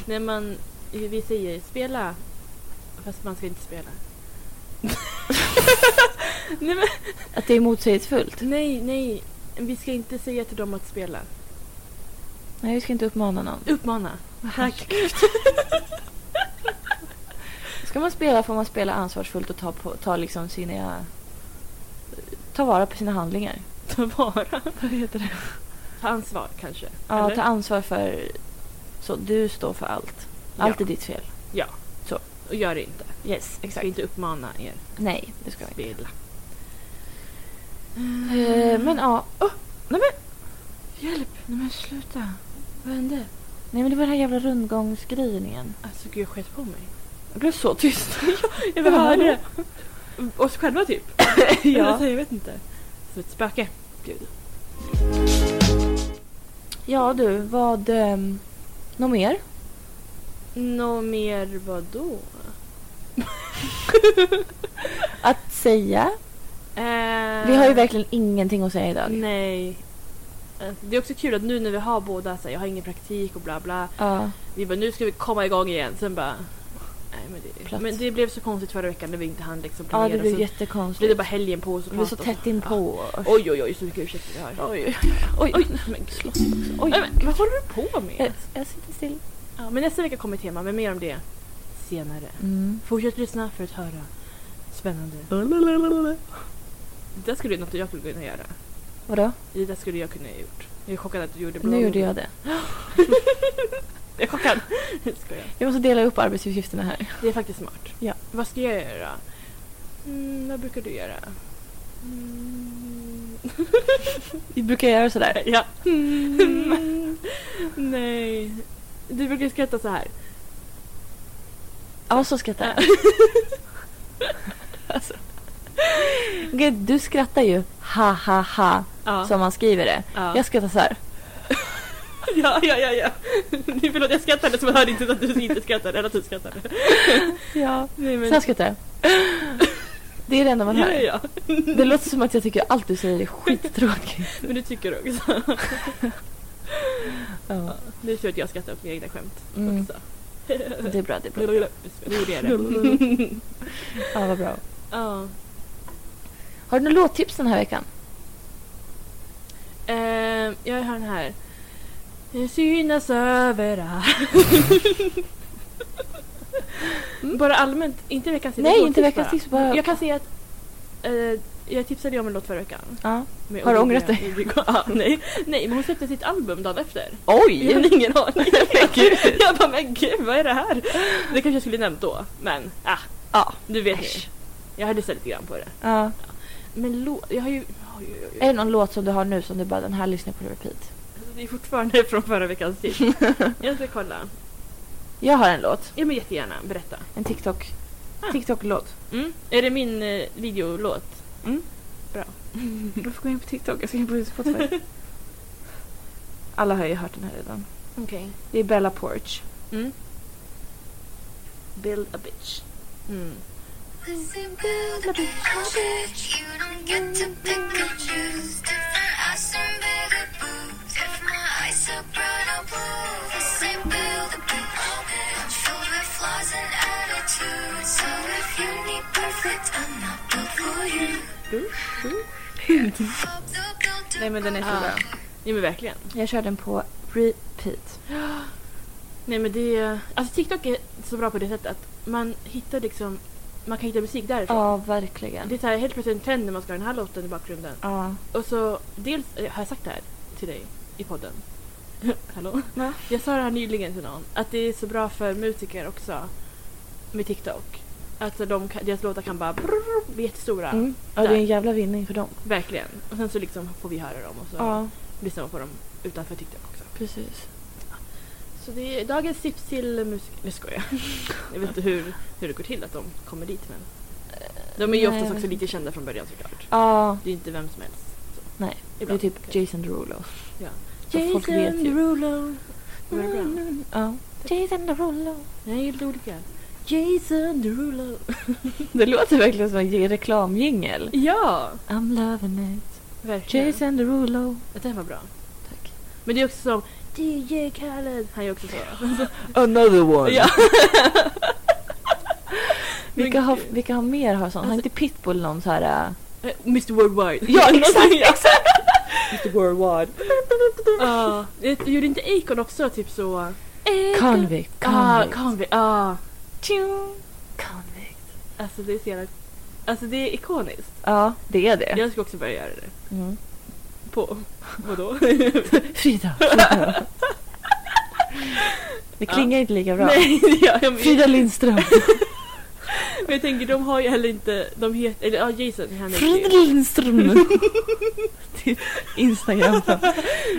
Speaker 2: När man, vi säger spela, fast man ska inte spela. nej, men,
Speaker 1: Att det är motsägelsefullt.
Speaker 2: nej, nej, vi ska inte säga till dem att spela.
Speaker 1: Nej, vi ska inte uppmana någon.
Speaker 2: Uppmana. Tack.
Speaker 1: Ska man spela får man spela ansvarsfullt och ta, på, ta liksom sina... Ta vara på sina handlingar.
Speaker 2: Ta vara.
Speaker 1: Vad heter det?
Speaker 2: Ta ansvar kanske.
Speaker 1: Ja,
Speaker 2: Eller?
Speaker 1: ta ansvar för... Så du står för allt. Allt
Speaker 2: Ja.
Speaker 1: är ditt fel.
Speaker 2: Och gör det inte.
Speaker 1: Yes,
Speaker 2: Vi ska inte uppmana er
Speaker 1: Nej, det ska
Speaker 2: att
Speaker 1: vi
Speaker 2: spela. Mm.
Speaker 1: Eh, Men ja. Oh, nej men! Hjälp! Nej men sluta. Vad hände? Nej men det var den här jävla rundgångsgrejen igen.
Speaker 2: Alltså gud, jag sket på mig.
Speaker 1: Jag blev så tyst.
Speaker 2: Jag vill höra det. Oss själva typ. Eller
Speaker 1: ja.
Speaker 2: så, jag vet inte. Som ett spöke. Gud.
Speaker 1: ja du, vad... Um, något mer?
Speaker 2: Nå mer vadå?
Speaker 1: Att säga?
Speaker 2: Eh,
Speaker 1: Vi har ju verkligen ingenting att säga idag.
Speaker 2: Nej. Eh, Det är också kul att nu när vi har båda så här, jag har ingen praktik och bla bla.
Speaker 1: Ja.
Speaker 2: Vi bara nu ska vi komma igång igen. Sen bara... Nej, men, det,
Speaker 1: Plats.
Speaker 2: men det blev så konstigt förra veckan när vi inte hann liksom
Speaker 1: ja,
Speaker 2: planera.
Speaker 1: det blev
Speaker 2: så blev
Speaker 1: jättekonstigt.
Speaker 2: det bara helgen på oss.
Speaker 1: Vi var så tätt inpå.
Speaker 2: Oj oj oj så mycket ursäkter vi har.
Speaker 1: Oj, oj, oj.
Speaker 2: Men, slå-
Speaker 1: oj.
Speaker 2: Nej, men, vad håller du på med?
Speaker 1: Jag, jag sitter still.
Speaker 2: Ja, men nästa vecka kommer ett tema, men mer om det senare.
Speaker 1: Mm.
Speaker 2: Fortsätt lyssna för att höra spännande. Det där skulle något jag skulle kunna göra.
Speaker 1: Vadå?
Speaker 2: Det där skulle jag kunna ha gjort. Jag är chockad att du gjorde
Speaker 1: Nu gjorde jag det.
Speaker 2: Jag är chockad. Jag skojar.
Speaker 1: Jag måste dela upp arbetsuppgifterna här.
Speaker 2: Det är faktiskt smart.
Speaker 1: Ja.
Speaker 2: Vad ska jag göra? Mm, vad brukar du göra? Mm.
Speaker 1: Vi brukar göra sådär.
Speaker 2: ja. Nej. Du brukar skratta så här.
Speaker 1: Ja, så skrattar jag. alltså. Gud, du skrattar ju ha ha ha
Speaker 2: Ja.
Speaker 1: som man skriver det.
Speaker 2: ja.
Speaker 1: Jag skrattar så här.
Speaker 2: Ja, ja, ja, ja. Nej, Förlåt, jag skrattade så man hörde inte att du inte skrattade eller att du skrattade.
Speaker 1: Ja.
Speaker 2: Nej, men...
Speaker 1: Så här skrattar jag. Det är det enda man
Speaker 2: ja,
Speaker 1: hör.
Speaker 2: ja, ja.
Speaker 1: Det låter som att jag tycker allt du säger är skittråkigt.
Speaker 2: Men du tycker också.
Speaker 1: Ja.
Speaker 2: Nu tror jag att jag skrattar åt mina egna skämt
Speaker 1: Mm,
Speaker 2: också.
Speaker 1: det är bra, det är bra.
Speaker 2: Nu gjorde jag det.
Speaker 1: Ja, vad bra.
Speaker 2: Ja.
Speaker 1: Har du några låttips den här veckan?
Speaker 2: Eh, jag har den här. Jag synas överallt. Bara allmänt, inte veckans tips.
Speaker 1: Mm. Nej,
Speaker 2: låttips
Speaker 1: inte veckans tips, bara-
Speaker 2: Jag kan säga att eh, jag tipsade ju om en låt förra veckan.
Speaker 1: Ja.
Speaker 2: med
Speaker 1: Har du
Speaker 2: Olivia
Speaker 1: ångrat dig?
Speaker 2: Rodrigo. Ja, nej. nej, men hon släppte sitt album dagen efter. Jag
Speaker 1: Oj!
Speaker 2: hade ingen aning.
Speaker 1: Men gud.
Speaker 2: jag bara, men gud vad är det här? Det kanske jag skulle nämnt då, men ah,
Speaker 1: Ja.
Speaker 2: du vet
Speaker 1: Äsch.
Speaker 2: ni. Jag hade lyssnat lite grann på det.
Speaker 1: ja.
Speaker 2: Men låt, jag har ju... Oj, oj, oj.
Speaker 1: Är det någon låt som du har nu som du bara den här lyssnar på repeat?
Speaker 2: Alltså, Det är fortfarande från förra veckans tips. jag ska kolla.
Speaker 1: Jag har en låt.
Speaker 2: Ja men jättegärna, berätta.
Speaker 1: En TikTok.
Speaker 2: Ah.
Speaker 1: TikTok-låt.
Speaker 2: Mm. Är det min eh, videolåt?
Speaker 1: Varför går jag in på TikTok? Jag ska in på Spotify. Alla har ju hört den här redan.
Speaker 2: Okej.
Speaker 1: Det är Bella Porch.
Speaker 2: Mm. Build a bitch. Mm.
Speaker 3: Listen, build a bitch. You don't get to pick and choose. Different ass and bigger boobs. If my eyes are bright, I'll blow. Listen, build a bitch. Filled with flaws and attitudes. So if you need perfect, I'm not built for you. Fuck the builder.
Speaker 1: Nej men den är så
Speaker 2: Ah.
Speaker 1: bra.
Speaker 2: Nej men verkligen.
Speaker 1: Jag kör den på repeat.
Speaker 2: Nej men det är... Alltså TikTok är så bra på det sättet att man hittar liksom... Man kan hitta musik därifrån.
Speaker 1: Ja, verkligen.
Speaker 2: Det är så här, helt plötsligt en trend när man ska ha den här låten i bakgrunden.
Speaker 1: Ja.
Speaker 2: Och så dels, eh, har jag sagt det här till dig i podden? Hallå?
Speaker 1: Va?
Speaker 2: Jag sa det här nyligen till någon, att det är så bra för musiker också med TikTok. Att de, kan- deras låtar kan bara brrrr, bli jättestora.
Speaker 1: Mm. Ja, det är en jävla vinning för dem.
Speaker 2: Verkligen. Och sen så liksom får vi höra dem och så
Speaker 1: Ja,
Speaker 2: lyssnar man på dem utanför TikTok också.
Speaker 1: precis.
Speaker 2: Så det är dagens tips till musiker. Nu skojar jag. Jag vet inte hur, hur det går till att de kommer dit men. Eh, De är ju
Speaker 1: Nej, jag
Speaker 2: oftast också
Speaker 1: vet
Speaker 2: lite kända från början såklart.
Speaker 1: Ja,
Speaker 2: Det är inte vem som helst. Så.
Speaker 1: Nej, det är
Speaker 2: Ibland.
Speaker 1: typ Jason Derulo.
Speaker 2: Ja.
Speaker 1: Jason folk vet ju.
Speaker 2: Derulo. Var det bra?
Speaker 1: Ja. Jason Derulo.
Speaker 2: Nej, lite olika. Jason Derulo.
Speaker 1: Det låter verkligen som en reklamjingel.
Speaker 2: Ja!
Speaker 1: I'm loving it.
Speaker 2: Verkligen.
Speaker 1: Jason Derulo.
Speaker 2: Den var bra.
Speaker 1: Tack.
Speaker 2: Men det är också som DJ Khaled. Han är också så.
Speaker 1: Another one.
Speaker 2: Ja.
Speaker 1: Vilka, har, vilka har mer har sånt? Har
Speaker 2: Alltså-
Speaker 1: inte Pitbull någon så här... äh,
Speaker 2: Eh, Mr Worldwide.
Speaker 1: exakt! Mr Worldwide.
Speaker 2: Ja. Det- Gjorde inte Akon också typ så...
Speaker 1: Convict.
Speaker 2: Ja,
Speaker 1: Ah, Convict.
Speaker 2: Convict. Ja.
Speaker 1: Tjung. Convict.
Speaker 2: Alltså det är så jävla... Alltså det är ikoniskt.
Speaker 1: Ja, det är det.
Speaker 2: Jag ska också börja göra det.
Speaker 1: Mm.
Speaker 2: På... Vadå?
Speaker 1: Frida. Frida. Det
Speaker 2: Ja.
Speaker 1: klingar inte lika bra.
Speaker 2: Nej, det gör jag men-
Speaker 1: Frida Lindström.
Speaker 2: Men jag tänker de har ju heller inte... De heter... Eller ja, Jason. Han är
Speaker 1: Frida
Speaker 2: ju...
Speaker 1: Lindström. Ditt Instagram.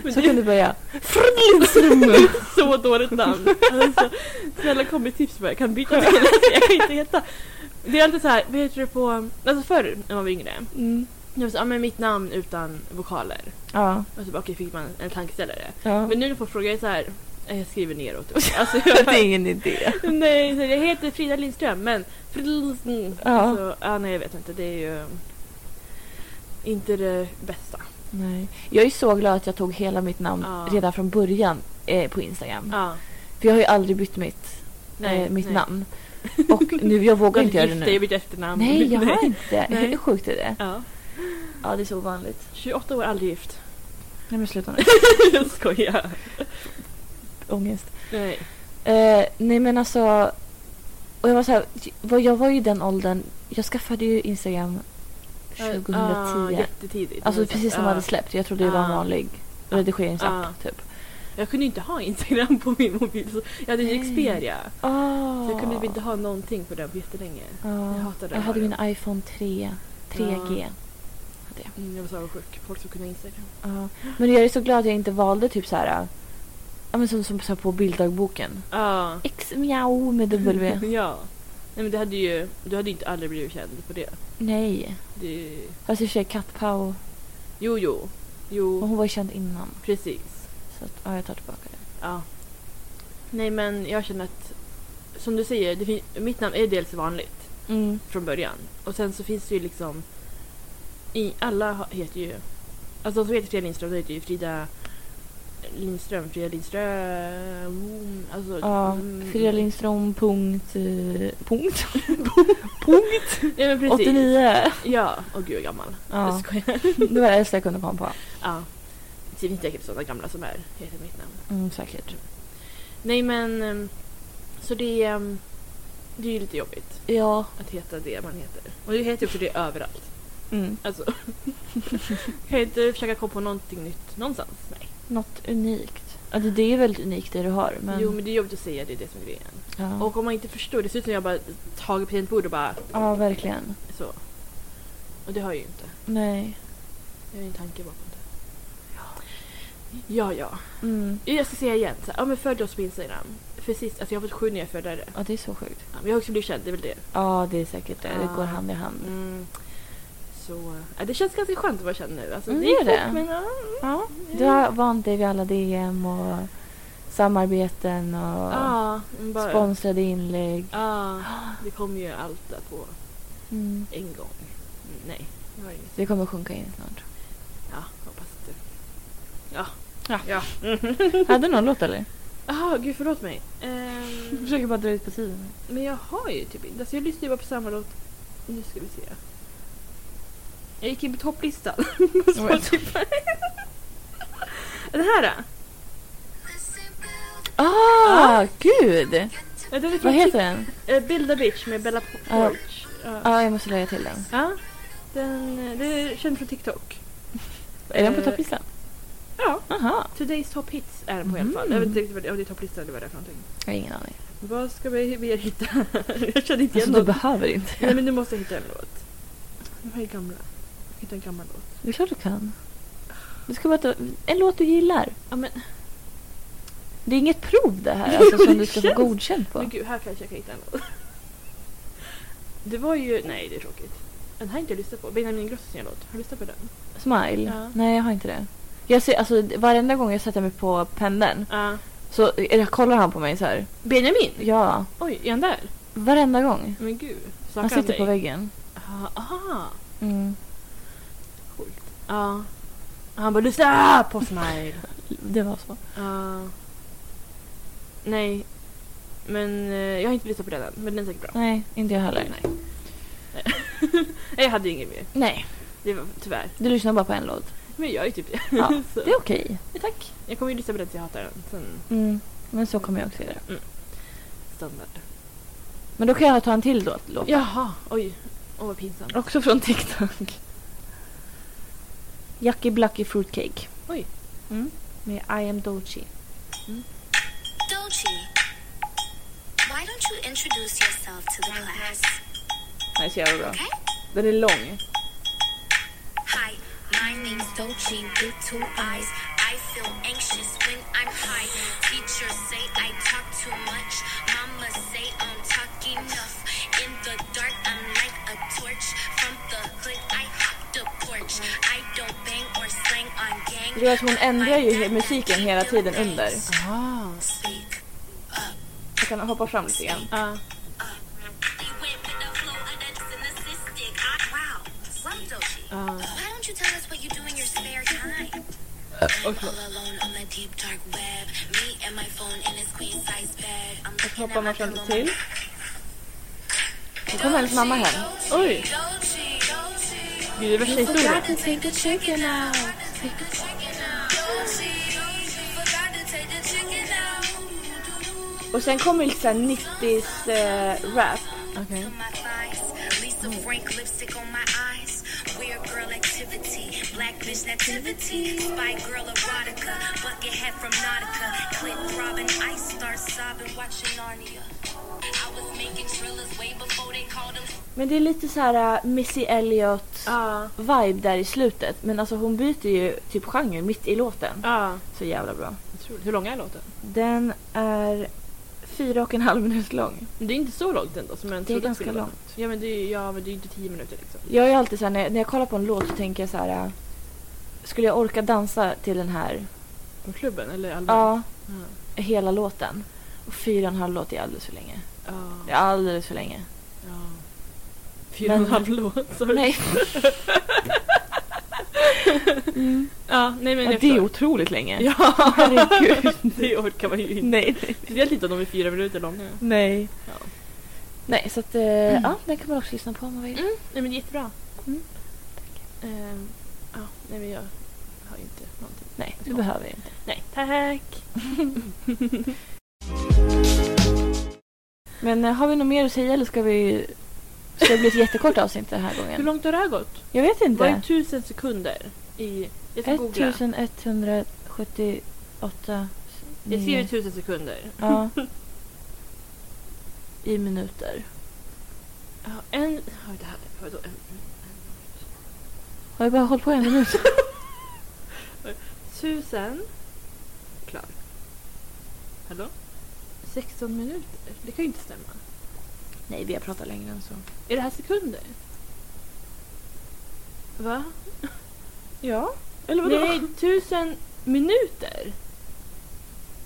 Speaker 2: Men
Speaker 1: Så
Speaker 2: det
Speaker 1: kan
Speaker 2: är
Speaker 1: du börja. Frida Lindström.
Speaker 2: så dåligt namn. Alltså, snälla kom med tips på vad jag kan byta till. Alltså, jag kan inte heta... Det är alltid så här, vad heter det på... Alltså förr när man var yngre.
Speaker 1: Mm.
Speaker 2: Jag var så, ja, men mitt namn utan vokaler.
Speaker 1: Ja.
Speaker 2: Och så bara, okej, fick man en tankeställare.
Speaker 1: ja.
Speaker 2: Men nu när folk frågar jag är så här, eh, jag skriver neråt. Alltså,
Speaker 1: det
Speaker 2: jag,
Speaker 1: är ingen idé.
Speaker 2: nej, så jag heter Frida Lindström men Frida Lindström.
Speaker 1: Ja.
Speaker 2: Alltså, ja, nej jag vet inte, det är ju inte det bästa.
Speaker 1: Mm. Nej. Jag är så glad att jag tog hela mitt namn
Speaker 2: Ja.
Speaker 1: redan från början eh, på Instagram.
Speaker 2: Ja,
Speaker 1: För jag har ju aldrig bytt mitt,
Speaker 2: nej,
Speaker 1: eh, mitt
Speaker 2: nej.
Speaker 1: namn. Och nu, jag vågar inte göra det
Speaker 2: Jag är
Speaker 1: nu.
Speaker 2: mitt efternamn.
Speaker 1: Nej, jag har inte.
Speaker 2: Nej.
Speaker 1: Hur sjukt är det?
Speaker 2: Ja.
Speaker 1: Ja, det är så ovanligt.
Speaker 2: 28 år, aldrig gift.
Speaker 1: Nej, men sluta nu.
Speaker 2: jag skojar.
Speaker 1: Ångest.
Speaker 2: Nej.
Speaker 1: Eh, nej, men alltså. Och jag var så här, vad- jag var ju i den åldern. Jag skaffade ju Instagram 2010.
Speaker 2: Ja, jättetidigt.
Speaker 1: alltså precis som
Speaker 2: Ja.
Speaker 1: hade släppt. Jag trodde det var en
Speaker 2: Ja.
Speaker 1: vanlig redigeringsapp
Speaker 2: Ja.
Speaker 1: typ.
Speaker 2: Jag kunde ju inte ha Instagram på min mobil. Så jag hade ju
Speaker 1: Nej.
Speaker 2: Xperia.
Speaker 1: Oh.
Speaker 2: Så jag kunde ju inte ha någonting på den på jättelänge.
Speaker 1: Ja.
Speaker 2: Jag hatade
Speaker 1: Jag hade
Speaker 2: radio.
Speaker 1: min iPhone 3, 3G.
Speaker 2: Mm, jag var så avundsjuk. Folk som kunde ha Instagram.
Speaker 1: Ja. Men jag är så glad att jag inte valde typ så här, ja men som, som så här på bilddagboken.
Speaker 2: Ja.
Speaker 1: X miau med W.
Speaker 2: ja. Nej men det hade ju, du hade ju inte aldrig blivit känd på det.
Speaker 1: Nej.
Speaker 2: det är ju-
Speaker 1: Fast i och för sig Kattpau,
Speaker 2: jo, jo.
Speaker 1: och
Speaker 2: Jo,
Speaker 1: hon var ju känd innan.
Speaker 2: precis.
Speaker 1: Så att, ja, jag tar tillbaka det.
Speaker 2: Ja. Nej men jag känner att, som du säger, det fin- mitt namn är dels vanligt
Speaker 1: Mm.
Speaker 2: från början. Och sen så finns det ju liksom, i, alla ha- heter ju, alltså de som heter Frida Lindström, de heter ju Frida Lindström, Frida Lindström, alltså.
Speaker 1: Ja,
Speaker 2: mm,
Speaker 1: Frida Lindström, punkt, eh, punkt,
Speaker 2: Ja, men precis.
Speaker 1: 89.
Speaker 2: Ja, och gud jag är gammal. Jag
Speaker 1: Ja,
Speaker 2: skojar.
Speaker 1: det var det äldsta jag kunde komma på.
Speaker 2: Ja. Det finns säkert sådana gamla som är, heter mitt namn.
Speaker 1: Mm, säkert.
Speaker 2: Nej men, ehm, så det är, ehm, det är ju lite jobbigt
Speaker 1: Ja.
Speaker 2: att heta det man heter. Och det heter ju också det överallt.
Speaker 1: Mm.
Speaker 2: Alltså. kan jag inte försöka komma på någonting nytt någonstans? Nej.
Speaker 1: Något unikt. Alltså, det är väldigt unikt det du har. Men,
Speaker 2: Jo men det är jobbigt att säga det, är det som är grejen.
Speaker 1: ja.
Speaker 2: Och om man inte förstår, det ser ut som jag bara tagit tangentbord och bara
Speaker 1: ja, verkligen.
Speaker 2: så. Och det har jag ju inte.
Speaker 1: Nej.
Speaker 2: Jag har ju en tanke bakom det. Ja, ja.
Speaker 1: Mm.
Speaker 2: Jag ska säga igen. Så här, ja, men följ oss på Instagram. För sist, alltså jag har fått sju nya följare.
Speaker 1: Ja, det är så sjukt.
Speaker 2: Ja, men jag har också blivit känd, det är väl det.
Speaker 1: Ja, det är säkert det. Det
Speaker 2: Ja.
Speaker 1: går hand i hand.
Speaker 2: Mm. Så, ja, det känns ganska skönt att vara känd nu. Alltså,
Speaker 1: Mm,
Speaker 2: gick
Speaker 1: det är
Speaker 2: fort,
Speaker 1: det.
Speaker 2: Men, ja, mm.
Speaker 1: Ja, du har vant dig vid alla DM och samarbeten och
Speaker 2: ja, men bara,
Speaker 1: sponsrade inlägg.
Speaker 2: ja, det kommer ju allt där på
Speaker 1: Mm.
Speaker 2: en gång. Mm, Nej, jag har inget.
Speaker 1: Det kommer sjunka in snart.
Speaker 2: Ja, hoppas att det.
Speaker 1: Hade du någon låt eller?
Speaker 2: Jaha, gud förlåt mig. Ehm,
Speaker 1: bara dra ut på tiden.
Speaker 2: men jag har ju typ inte, alltså jag lyssnar ju bara på samma låt. Nu ska vi se. Jag gick in på topplistan på Spotify. Den här då?
Speaker 1: Ah, gud!
Speaker 2: Ja, den är från
Speaker 1: Vad heter den?
Speaker 2: Chi- eh, Build a bitch med Bella P-
Speaker 1: Ja.
Speaker 2: Porch. Ja.
Speaker 1: Ja, ah, jag måste lägga till den.
Speaker 2: Ja. Den, eh, det är känd från TikTok.
Speaker 1: Är den på
Speaker 2: Eh,
Speaker 1: topplistan?
Speaker 2: Ja.
Speaker 1: Aha.
Speaker 2: Today's top hits är den på i alla fall.
Speaker 1: Mm.
Speaker 2: Jag vet inte riktigt vad det, om det är topplista eller vad det är för någonting.
Speaker 4: Jag har ingen aning.
Speaker 2: Vad ska vi mer hitta? jag känner inte igen
Speaker 4: Alltså, du
Speaker 2: något.
Speaker 4: behöver inte.
Speaker 2: Nej men nu måste jag hitta en låt. De här är gamla. Jag hittar en gammal låt.
Speaker 4: Det är klart du kan. Du ska bara ta en låt du gillar.
Speaker 2: Ja, men,
Speaker 4: Det är inget prov det här alltså,
Speaker 2: Jo,
Speaker 4: som
Speaker 2: det
Speaker 4: du ska
Speaker 2: känns-
Speaker 4: få godkänt på.
Speaker 2: men gud, här kanske jag kan hitta en låt. Det var ju... Nej, det är tråkigt. Den här har inte jag lyssnat på. Benjamin Ingrossos nya låt. Har du lyssnat på den?
Speaker 4: Smile?
Speaker 2: Ja.
Speaker 4: Nej, jag har inte det. Jag ser, alltså, varenda gång jag sätter mig på pendeln
Speaker 2: Ja.
Speaker 4: så eh, kollar han på mig så här.
Speaker 2: Benjamin!
Speaker 4: Ja,
Speaker 2: Oj, är han där?
Speaker 4: varenda gång.
Speaker 2: Men gud. Snackar
Speaker 4: Han sitter
Speaker 2: dig?
Speaker 4: på väggen.
Speaker 2: Ja, Aha.
Speaker 4: Mm.
Speaker 2: Ja. Han bara lyssna på Smile.
Speaker 4: Det var så.
Speaker 2: Ja. Nej. Men eh, jag har inte lyssnat på den än. Men den är säkert bra.
Speaker 4: Nej, inte jag heller.
Speaker 2: Nej. Nej, jag hade ju inget mer.
Speaker 4: Nej,
Speaker 2: Det var tyvärr.
Speaker 4: du lyssnar bara på en låt.
Speaker 2: Men jag är typ det.
Speaker 4: Ja,
Speaker 2: Så.
Speaker 4: Det är okej.
Speaker 2: Tack. Jag kommer ju lyssna på den tills jag hatar den. Sen
Speaker 4: Mm. Men så kommer jag också göra.
Speaker 2: standard.
Speaker 4: Men då kan jag ta en till låt. låt.
Speaker 2: Jaha, oj. Åh vad pinsamt.
Speaker 4: Också från TikTok. Jackie Blacky Fruitcake.
Speaker 2: Oj.
Speaker 4: Mm. Med I am Dochi.
Speaker 3: Dolce, why don't you introduce yourself to the class?
Speaker 2: Nej, så jävla bra.
Speaker 3: Okay?
Speaker 2: Den är lång.
Speaker 3: Hi, my name's Dolce with two eyes. I feel anxious when I'm high. Teachers say I talk too much. Mama say I'm talking enough. In the dark, I'm like a torch. From the hood, I hop the porch. I don't bang or slang on gang.
Speaker 1: Du vet, hon ändrar ju he- musiken hela tiden under.
Speaker 2: Ah.
Speaker 3: Speak up.
Speaker 1: Jag kan hoppa fram lite grann.
Speaker 2: Ja.
Speaker 3: They went with the flow of that synthetic. Wow. Wow, Dolce.
Speaker 2: Ah.
Speaker 3: Why don't you tell us what you do in your spare time? I'm all alone on the deep dark web. Me and my phone in a queen size bed. I'm
Speaker 2: Jag hoppar man fram lite till.
Speaker 1: Nu kommer hennes mamma hem.
Speaker 2: Oj. Gud, det är värsta historien.
Speaker 1: Och sen kommer lite såhär 90s eh, rap.
Speaker 2: Okej.
Speaker 3: my thighs. Lisa Frank lipstick on my eyes. Weird girl activity, black bitch nativity. Spy girl erotica, bucket hat from Nautica. Clip throbbing, I start sobbing, watching Narnia. I was making thrillers way before they called them.
Speaker 1: Men det är lite så här eh, Missy Elliott
Speaker 2: Ja.
Speaker 1: vibe där i slutet. Men alltså hon byter ju typ genre mitt i låten.
Speaker 2: Ja.
Speaker 1: Så jävla bra.
Speaker 2: Otroligt. Hur lång är låten?
Speaker 1: Den är fyra och en halv minut lång.
Speaker 2: Men Det är inte så långt ändå som jag
Speaker 1: Det är
Speaker 2: trodde
Speaker 1: ganska
Speaker 2: skulle vara.
Speaker 1: långt.
Speaker 2: Ja men det är ja, men det är ju inte tio minuter liksom.
Speaker 1: Jag är alltid så här, när, jag, när jag kollar på en låt så tänker jag så här. eh, Skulle jag orka dansa till den
Speaker 2: Mm.
Speaker 1: här?
Speaker 2: På klubben eller allmänt?
Speaker 1: Ja,
Speaker 2: Ja.
Speaker 1: hela låten. Och fyra och en halv låt är alldeles för länge. Det
Speaker 2: Ja.
Speaker 1: är alldeles för länge.
Speaker 2: ja. Fyra och en
Speaker 1: Men-
Speaker 2: halv låt. sorry.
Speaker 1: Nej,
Speaker 2: Ja, nej men
Speaker 1: ja,
Speaker 2: jag
Speaker 1: det är
Speaker 2: förstår.
Speaker 1: otroligt länge.
Speaker 2: Ja,
Speaker 1: Herregud.
Speaker 2: det orkar man ju inte.
Speaker 1: Nej, nej,
Speaker 2: Speciellt inte om de är fyra minuter långa.
Speaker 1: nej.
Speaker 2: Ja.
Speaker 1: Nej, så att eh, ja, den kan man också lyssna på om man vill.
Speaker 2: Mm, nej men jättebra.
Speaker 1: Mm.
Speaker 2: Ehm, ja, nej men jag har inte någonting.
Speaker 1: Nej, det behöver jag inte.
Speaker 2: Nej, tack!
Speaker 1: Men eh, har vi något mer att säga eller ska vi... Ska det bli ett jättekort avsnitt den här
Speaker 2: Hur
Speaker 1: gången?
Speaker 2: långt har det här gått?
Speaker 1: Jag vet
Speaker 2: Var det
Speaker 1: inte.
Speaker 2: tusen sekunder? I, jag ska googla.
Speaker 1: 1178...
Speaker 2: Jag
Speaker 1: nio.
Speaker 2: skriver tusen sekunder.
Speaker 1: Ja. I minuter.
Speaker 2: Ja, en... ja, Det här, vadå, en,
Speaker 1: Har jag bara hållit på en minut?
Speaker 2: Tusen. Klar. Hallå? 16 minuter? Det kan ju inte stämma.
Speaker 1: Nej, vi har pratat längre än så.
Speaker 2: Är det här sekunder? Va?
Speaker 1: Ja.
Speaker 2: Eller vadå?
Speaker 1: Nej.
Speaker 2: Nej, tusen minuter!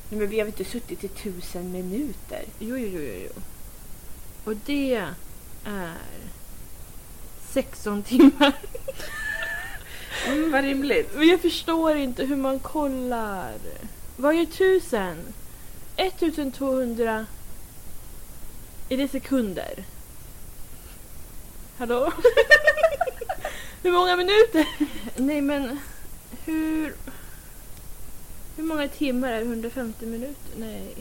Speaker 1: Men vi har inte suttit i tusen minuter?
Speaker 2: Jo, jo, jo, jo, jo. Och det är 16 timmar.
Speaker 1: Mm, vad rimligt.
Speaker 2: Men jag förstår inte hur man kollar. Vad är tusen? 1200... Är det sekunder? Hallå? hur många minuter? Nej men hur... Hur många timmar är 150 minuter? Nej.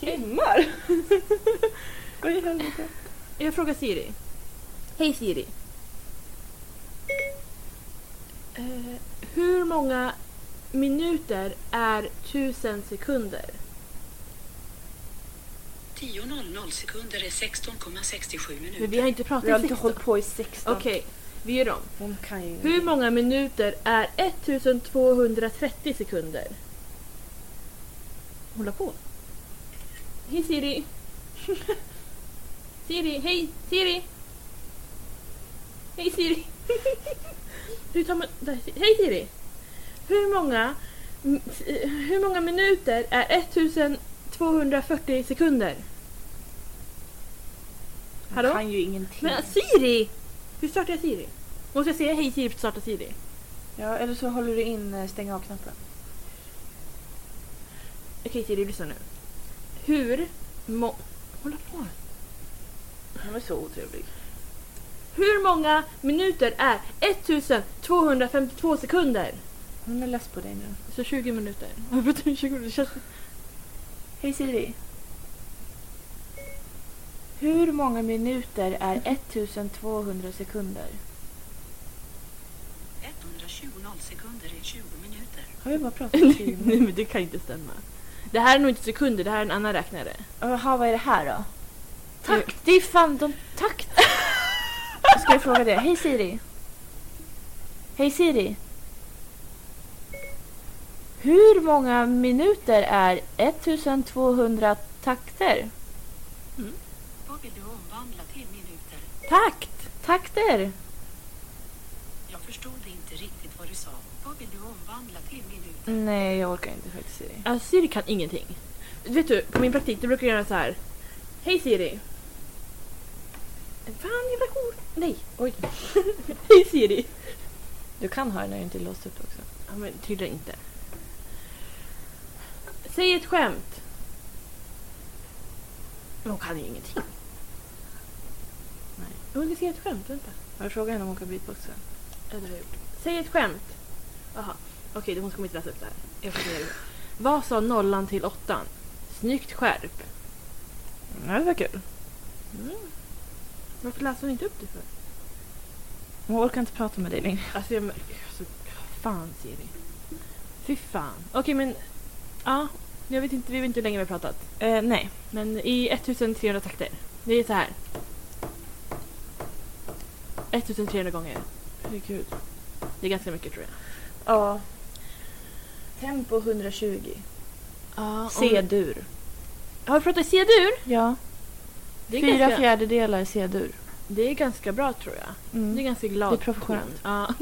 Speaker 1: Timmar?
Speaker 2: Vad i helvete? Jag frågar Siri. Hej Siri. Eh, hur många Minuter är tusen sekunder.
Speaker 5: 10.00 sekunder är 16,67
Speaker 2: Men
Speaker 5: minuter.
Speaker 2: vi har inte pratat
Speaker 6: Vi har inte
Speaker 2: sexton.
Speaker 6: hållit på i 16.
Speaker 2: Okej, vi gör om.
Speaker 6: Hon kan ju...
Speaker 2: Hur många minuter är 1230 sekunder?
Speaker 6: hålla på?
Speaker 2: Hej Siri! Siri, hej! Siri! Hej Siri! Hur tar man... Där, hej Siri! Hur många, m- eh, hur många minuter är 1240 sekunder?
Speaker 6: Hon
Speaker 2: Hallå?
Speaker 6: kan ju ingenting.
Speaker 2: Men Siri! Hur startar jag Siri? Måste jag säga hej Siri för att starta Siri?
Speaker 6: Ja, eller så håller du in eh, stäng av-knappen.
Speaker 2: Okej Siri, lyssna nu. Hur må... Hålla på.
Speaker 6: Hon är så otrevlig.
Speaker 2: Hur många minuter är 1252 sekunder?
Speaker 6: Hon är less på dig nu.
Speaker 2: Så 20 Alltså, minuter. Jag har pratat i 20 minuter. Känns-
Speaker 6: Hej Siri.
Speaker 1: Hur många minuter är 1200 sekunder?
Speaker 5: 120.0 sekunder är 20 minuter.
Speaker 6: Har vi bara pratat i 20 minuter?
Speaker 2: Nej men det kan inte stämma. Det här är nog inte sekunder, det här är en annan räknare.
Speaker 1: Jaha, vad är det här då?
Speaker 2: Takt.
Speaker 1: Det är fan de... Takt! Ska jag fråga det? Hej Siri! Hej Siri! Hur många minuter är 1200 takter?
Speaker 5: Vad vill du omvandla till minuter?
Speaker 1: Takt! Takter!
Speaker 5: Jag förstod inte riktigt vad du sa. Vad vill du omvandla till minuter?
Speaker 1: Nej, jag orkar inte faktiskt Siri.
Speaker 2: Alltså Siri kan ingenting. Vet du, på min praktik då brukar jag göra så här. Hej Siri. Fan jävla kor. Nej, oj. Hej Siri.
Speaker 1: Du kan ha den när du inte är låst upp också.
Speaker 2: Ja men tydligen inte. Säg ett skämt. Men hon kan ju ingenting.
Speaker 1: Nej.
Speaker 2: Jag vill säga ett skämt, vänta.
Speaker 6: Har du frågat henne om hon kan beatboxa?
Speaker 2: Ja, det har jag gjort. Säg ett skämt. Jaha, okej hon kommer inte läsa upp det här. Jag får säga det. Vad sa nollan till åttan? Snyggt skärp.
Speaker 6: Ja, det var kul.
Speaker 2: Varför läser hon inte upp det för?
Speaker 6: Hon orkar inte prata med dig längre.
Speaker 2: Alltså jag... Alltså, fan Siri. Fy fan. Okej men... Ja, jag vet inte, vi vet inte hur länge vi har pratat.
Speaker 6: Eh, nej.
Speaker 2: Men i 1300 takter. Det är så här. 1300 gånger.
Speaker 6: Herregud.
Speaker 2: Det är ganska mycket tror jag.
Speaker 6: Ja. Tempo 120.
Speaker 2: Ja, om...
Speaker 6: C-dur.
Speaker 2: Har vi pratat C-dur?
Speaker 1: Ja.
Speaker 2: Det är,
Speaker 1: Fyra
Speaker 2: ganska,
Speaker 1: fjärdedelar C-dur.
Speaker 2: det är ganska bra tror jag. Det är
Speaker 1: Mm.
Speaker 2: ganska glad.
Speaker 1: Det är professionellt.
Speaker 2: Ja.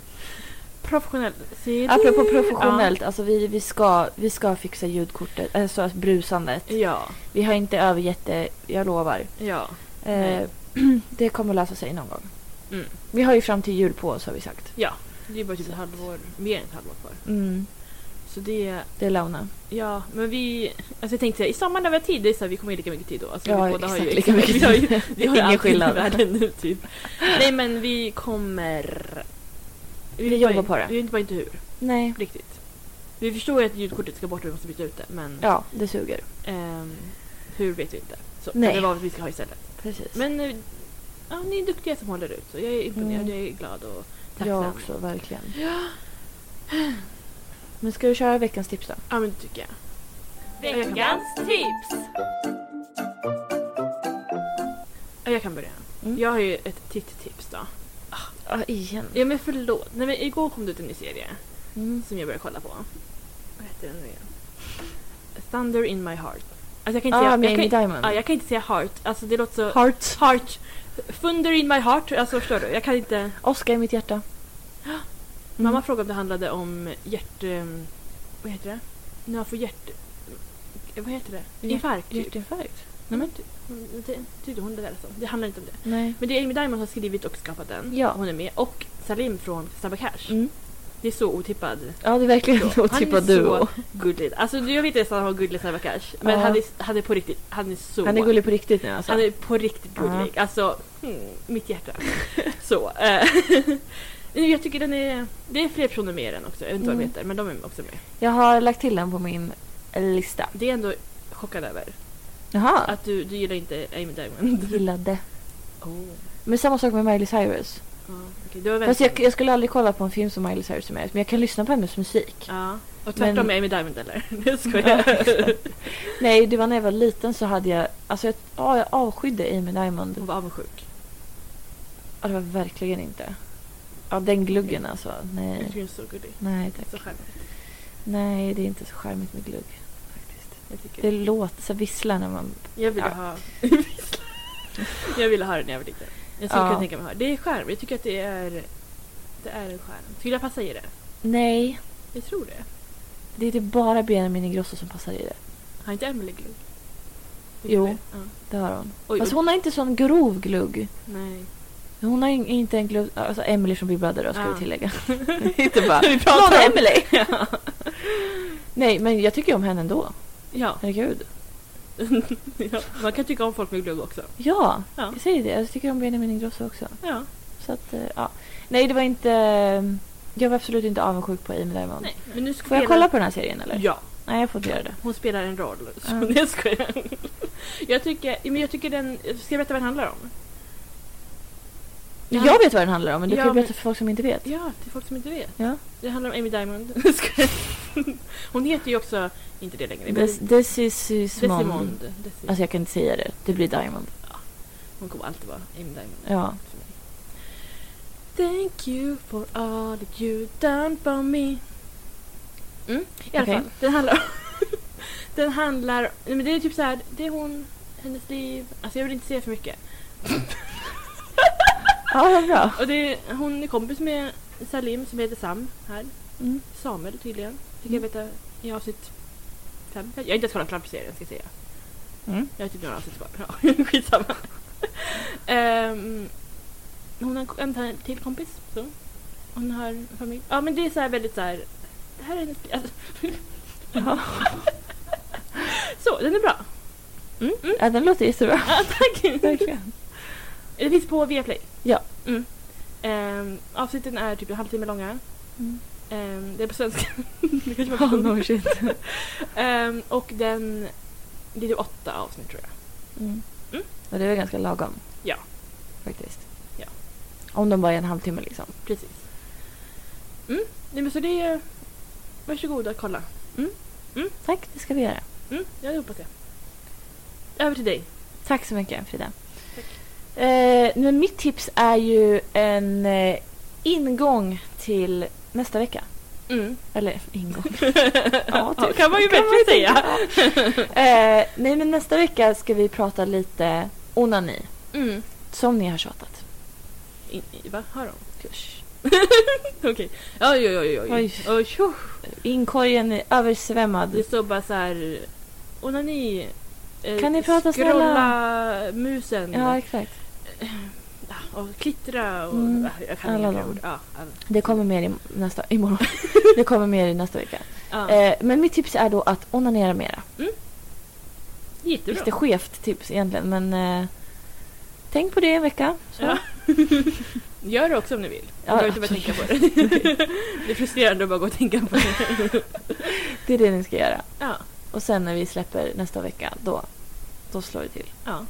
Speaker 2: professionellt. Ser
Speaker 1: Apropå
Speaker 2: du?
Speaker 1: professionellt, alltså vi, vi, ska, vi ska fixa ljudkortet, alltså brusandet.
Speaker 2: Ja,
Speaker 1: Vi har inte övergett det, jag lovar.
Speaker 2: ja. Nej.
Speaker 1: Eh, det kommer lösa sig någon gång.
Speaker 2: Mm.
Speaker 1: Vi har ju fram till jul på oss har vi sagt.
Speaker 2: Det är bara typ ett halvår, mer än ett halvår kvar.
Speaker 1: Mm.
Speaker 2: Så det,
Speaker 1: Det är Launa.
Speaker 2: ja, men vi, alltså jag tänkte säga, i sommar när vi har tid, det är så här, vi kommer ju lika mycket tid då. Alltså,
Speaker 1: Ja,
Speaker 2: vi båda har ju
Speaker 1: exakt lika mycket
Speaker 2: vi har ju- Vi har ju
Speaker 1: Ingen
Speaker 2: alltid
Speaker 1: skillnad.
Speaker 2: i världen nu typ. Nej men vi kommer... Vi, vet
Speaker 1: jobbar
Speaker 2: bara-
Speaker 1: på det.
Speaker 2: Vi vet bara inte hur,
Speaker 1: Nej.
Speaker 2: riktigt. Vi förstår ju att ljudkortet ska bort och vi måste byta ut det, men
Speaker 1: Ja, det suger.
Speaker 2: ehm, hur vet vi inte. Så
Speaker 1: Nej.
Speaker 2: det var vad vi ska ha istället.
Speaker 1: Precis.
Speaker 2: Men eh, ja, ni är duktiga som håller ut. Så jag är imponerad,
Speaker 1: Mm.
Speaker 2: jag är glad och tacksam.
Speaker 1: jag också, verkligen. Ja. Men ska vi köra veckans tips då?
Speaker 2: Ja, men det tycker jag.
Speaker 4: Veckans tips!
Speaker 2: Ja, Jag kan börja.
Speaker 1: Mm.
Speaker 2: Jag har ju ett titt-tips då.
Speaker 1: Ja, igen.
Speaker 2: Ja, men förlåt. Nej, men igår kom det ut en ny serie
Speaker 1: Mm.
Speaker 2: som jag började kolla på. Vad heter den nu igen? Thunder in my heart. Alltså jag kan inte
Speaker 1: Ah,
Speaker 2: säga... jag
Speaker 1: Mamie
Speaker 2: kan,
Speaker 1: Diamond.
Speaker 2: ja, jag kan inte säga heart. Alltså det låter så...
Speaker 1: Heart.
Speaker 2: Heart. Thunder in my heart. Alltså förstår du? Jag kan inte...
Speaker 1: Oscar i mitt hjärta. Mm.
Speaker 2: Mamma frågade om det handlade om hjärt... ehm, Vad heter det? När man får hjärt... Vad heter det?
Speaker 1: Hjärt-
Speaker 2: Infarkt typ.
Speaker 1: Hjärtinfarkt?
Speaker 2: Nej men ty- hon- ty- tyckte hon det där så. Det handlar inte om det.
Speaker 1: Nej.
Speaker 2: Men det är Amy Diamond som har skrivit och skapat den.
Speaker 1: Ja.
Speaker 2: Hon är med. Och Salim från Snabba Cash.
Speaker 1: Mm.
Speaker 2: Det är så otippad.
Speaker 1: Ja, det är verkligen
Speaker 2: Så,
Speaker 1: en otippad duo.
Speaker 2: så gullig. Alltså jag vet inte ens att han har gullig Snabba Cash. Men
Speaker 1: Ja.
Speaker 2: han, är, han är på riktigt. Han är så...
Speaker 1: Han är gullig på riktigt nu alltså.
Speaker 2: Han är på riktigt
Speaker 1: Ja.
Speaker 2: gullig. Alltså, mm, mitt hjärta. så. eh, Nej, jag tycker den är... Det är fler personer med i den också. Jag vet inte vad de
Speaker 1: Mm.
Speaker 2: heter, men de är också med.
Speaker 1: Jag har lagt till den på min lista.
Speaker 2: Det är ändå chockad över.
Speaker 1: Jaha.
Speaker 2: Att du, du gillar inte Amy Diamond.
Speaker 1: Gillade.
Speaker 2: Oh.
Speaker 1: Men samma sak med Miley Cyrus.
Speaker 2: okej, det var
Speaker 1: Fast
Speaker 2: väldigt...
Speaker 1: jag, jag skulle aldrig kolla på en film som Miley Cyrus är med i, men jag kan lyssna på hennes musik.
Speaker 2: Ja. Och tvärtom
Speaker 1: Men-
Speaker 2: med Amy Diamond eller? Nu skojar jag.
Speaker 1: Nej, det var när jag var liten så hade jag... Alltså jag, ja, jag avskydde Amy
Speaker 2: Hon
Speaker 1: Diamond.
Speaker 2: var avundsjuk.
Speaker 1: Ja, det var verkligen inte. Ja, den gluggen alltså.
Speaker 2: Jag
Speaker 1: Nej,
Speaker 2: tycker hon är så gullig.
Speaker 1: nej tack.
Speaker 2: Så charmig.
Speaker 1: Nej, det är inte så charmigt med glugg. Faktiskt.
Speaker 2: Jag tycker.
Speaker 1: Det låter så visslar när man...
Speaker 2: Jag ville
Speaker 1: Ja.
Speaker 2: ha... jag ville ha det när jag var liten. Jag skulle
Speaker 1: Ja.
Speaker 2: kunna tänka mig att ha det. Det är charm. Jag tycker att det är... Det är en charm. Tycker du jag passar i det?
Speaker 1: Nej,
Speaker 2: Jag tror det.
Speaker 1: det är typ bara Benjamin Ingrosso som passar i det.
Speaker 2: Har inte Emily glugg?
Speaker 1: Jo.
Speaker 2: Ja.
Speaker 1: Det har hon.
Speaker 2: Oj,
Speaker 1: Fast
Speaker 2: oj.
Speaker 1: hon har inte sån grov glugg.
Speaker 2: Nej.
Speaker 1: Hon har in- inte en glugg... Alltså Emily från Big Brother då, ska
Speaker 2: Ja.
Speaker 1: vi tillägga. inte bara...
Speaker 2: Vi pratar
Speaker 1: "Någon är
Speaker 2: om-
Speaker 1: Emily! Nej, men jag tycker om henne ändå.
Speaker 2: Ja.
Speaker 1: Herregud.
Speaker 2: ja. Man kan tycka om folk med glugg också.
Speaker 1: Ja,
Speaker 2: Ja.
Speaker 1: jag säger det. Jag tycker om Benjamin Ingrosso också.
Speaker 2: Ja.
Speaker 1: Så att, eh, ja. Nej, det var inte... eh, Jag var absolut inte avundsjuk på Amy Diamond.
Speaker 2: Nej. Men nu ska
Speaker 1: Får jag
Speaker 2: spela-
Speaker 1: kolla på den här serien eller?
Speaker 2: Ja.
Speaker 1: Nej, jag får inte göra det.
Speaker 2: Hon spelar en roll. Så
Speaker 1: Ja.
Speaker 2: jag skojar. Jag tycker, men jag tycker den... Ska jag berätta vad den handlar om? Ja.
Speaker 1: Jag vet vad den handlar om, men du
Speaker 2: Ja,
Speaker 1: kan ju berätta
Speaker 2: men-
Speaker 1: för folk som inte vet.
Speaker 2: Ja, till folk som inte vet.
Speaker 1: Ja.
Speaker 2: Det handlar om Amy Diamond. Skojar. Hon heter ju också... Inte det längre. men-
Speaker 1: Des, Desimond.
Speaker 2: Desimond. Desi.
Speaker 1: Alltså jag kan inte säga det. Det blir Diamond.
Speaker 2: Hon kommer alltid vara Amy Diamond.
Speaker 1: Ja.
Speaker 2: för mig. Thank you for all that you done for me. Mm, I alla
Speaker 1: Okej.
Speaker 2: fall, den handlar om- Den handlar... Nej, men det är typ så här, det är hon, hennes liv. Alltså jag vill inte säga för mycket.
Speaker 1: Ja, vad bra.
Speaker 2: Och det är, hon är kompis med Salim som heter Sam här.
Speaker 1: Mm.
Speaker 2: Samuel tydligen. Fick jag veta i avsnitt fem. Jag har inte ens kollat klart på serien ska jag säga.
Speaker 1: Mm.
Speaker 2: Jag har typ några avsnitt kvar. Ja, Skitsamma. Ehm, hon har en t- till kompis. Så. Hon har en familj. Ja men det är så här väldigt så här. Det här är en... Alltså, så, den är bra.
Speaker 1: Ja, den låter jättebra.
Speaker 2: Ja, tack!
Speaker 1: Verkligen.
Speaker 2: Det finns på Viaplay.
Speaker 1: Ja.
Speaker 2: Mm. Ehm, avsnitten är typ en halvtimme långa.
Speaker 1: Mm.
Speaker 2: Ehm, det är på svenska. det kanske
Speaker 1: Ja,
Speaker 2: var på
Speaker 1: Oh, no shit.
Speaker 2: Ehm, och den... Det är typ åtta avsnitt tror jag.
Speaker 1: Mm.
Speaker 2: Mm.
Speaker 1: Och det var ganska lagom.
Speaker 2: Ja.
Speaker 1: Faktiskt.
Speaker 2: Ja.
Speaker 1: Om de bara är en halvtimme liksom.
Speaker 2: Precis. Mm. Nej men så det är... Varsågoda, kolla.
Speaker 1: Tack, det ska vi göra.
Speaker 2: Mm. Ja, det hoppas jag. Över till dig.
Speaker 1: Tack så mycket Frida. Eh, men mitt tips är ju en eh, ingång till nästa vecka.
Speaker 2: Mm.
Speaker 1: Eller ingång.
Speaker 2: ja,
Speaker 1: typ.
Speaker 2: kan man ju
Speaker 1: Kan man
Speaker 2: bättre säga.
Speaker 1: Eh, nej men nästa vecka ska vi prata lite onani.
Speaker 2: Mm.
Speaker 1: Som ni har tjatat.
Speaker 2: In, i- va? Har de?
Speaker 1: Usch.
Speaker 2: Okej. Oj, oj, oj. oj.
Speaker 1: Oj.
Speaker 2: oj. tjo.
Speaker 1: Inkorgen är översvämmad.
Speaker 2: Det står bara så här... Onani. eh,
Speaker 1: Kan ni prata
Speaker 2: scrolla
Speaker 1: snälla?
Speaker 2: musen.
Speaker 1: Ja exakt.
Speaker 2: Ah, Och klittra och...
Speaker 1: Mm.
Speaker 2: Ah, Jag kan
Speaker 1: Alla
Speaker 2: inga fler
Speaker 1: dem.
Speaker 2: ord. Ja, alla.
Speaker 1: Det kommer mer i nästa, imorgon. det kommer mer i nästa vecka.
Speaker 2: Ja.
Speaker 1: Eh, men mitt tips är då att onanera mera.
Speaker 2: Jättebra.
Speaker 1: Lite skevt tips egentligen men eh, tänk på det en vecka. Så.
Speaker 2: Ja. Gör det också om ni vill. Ni
Speaker 1: Ja,
Speaker 2: behöver inte bara tänka på det. det är frustrerande att bara gå och tänka på det.
Speaker 1: Det är det ni ska göra.
Speaker 2: Ja,
Speaker 1: Och sen när vi släpper nästa vecka då, då slår det till.
Speaker 2: ja.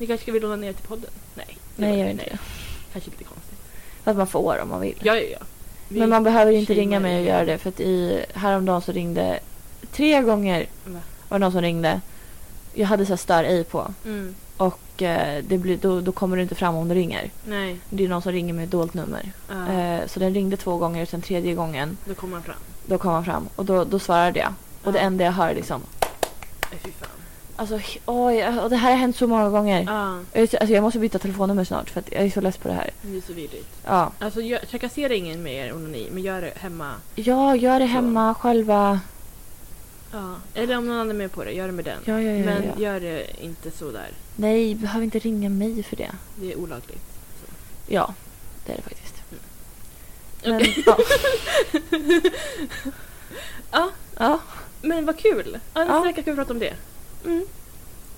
Speaker 2: Ni kanske ska vilja låna ner till podden? Nej. det
Speaker 1: Nej
Speaker 2: var-
Speaker 1: jag gör inte det.
Speaker 2: Kanske lite konstigt.
Speaker 1: För att man får om man vill.
Speaker 2: Ja, ja, ja. Vi-
Speaker 1: Men man behöver inte
Speaker 2: tjejmar
Speaker 1: ringa mig och
Speaker 2: ju.
Speaker 1: göra det för att i, häromdagen så ringde tre gånger
Speaker 2: Va?
Speaker 1: var det någon som ringde. Jag hade så här stör ej på
Speaker 2: Mm.
Speaker 1: och eh, det blir, då, då kommer du inte fram om du ringer.
Speaker 2: Nej.
Speaker 1: Det är någon som ringer med ett dolt nummer.
Speaker 2: Ja,
Speaker 1: Eh, så den ringde två gånger och sen tredje gången
Speaker 2: Då kommer man fram.
Speaker 1: då kom han fram och då, då svarade jag. Och det
Speaker 2: Ja.
Speaker 1: enda jag hör är liksom
Speaker 2: Nej, Fy fan.
Speaker 1: alltså, he- oj, och det här har hänt så många gånger.
Speaker 2: Ja,
Speaker 1: Jag, är så- alltså, jag måste byta telefonnummer snart för att jag är så less på det här.
Speaker 2: det är så vidrigt.
Speaker 1: Ja,
Speaker 2: Alltså, gör- trakassera ingen med er onani, men gör det hemma.
Speaker 1: ja gör det hemma själva.
Speaker 2: Ja. Eller om någon annan är med på det, gör det med den.
Speaker 1: Ja, ja, ja,
Speaker 2: men
Speaker 1: ja.
Speaker 2: gör det inte så där.
Speaker 1: Nej, behöver inte ringa mig för det.
Speaker 2: Det är olagligt.
Speaker 1: Ja, det är det faktiskt.
Speaker 2: Mm.
Speaker 1: Men, ja.
Speaker 2: Ja.
Speaker 1: ja.
Speaker 2: Men vad kul! Ja, nästa
Speaker 1: Ja.
Speaker 2: vecka ska vi prata om det.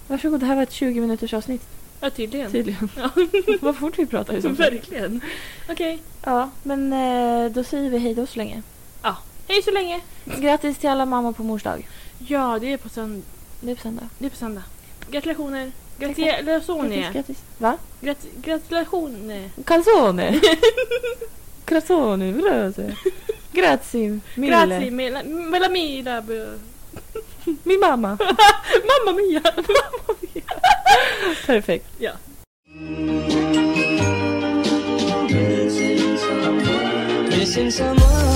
Speaker 1: Varsågod, det här var ett 20 minuters avsnitt
Speaker 2: Ja, tydligen.
Speaker 1: tydligen.
Speaker 2: Ja.
Speaker 1: Vad fort vi pratar i så fall.
Speaker 2: Verkligen. Okej.
Speaker 1: Ja, men eh, då säger vi hej då så länge.
Speaker 2: Hej så länge!
Speaker 1: Grattis till alla mammor på mors dag.
Speaker 2: Ja, det är på, sönd-
Speaker 1: Det är på söndag.
Speaker 2: det är på söndag. Gratulationer! Gratulationer.
Speaker 1: Grattis. Va?
Speaker 2: Grat- Gratulationer.
Speaker 1: Calzone. Calzone, alltså? grazie. Grazie mille.
Speaker 2: Grazie, Mela, Mela Mira. bu-
Speaker 1: Min mamma.
Speaker 2: Mamma Mia!
Speaker 1: Perfekt.
Speaker 7: Missing someone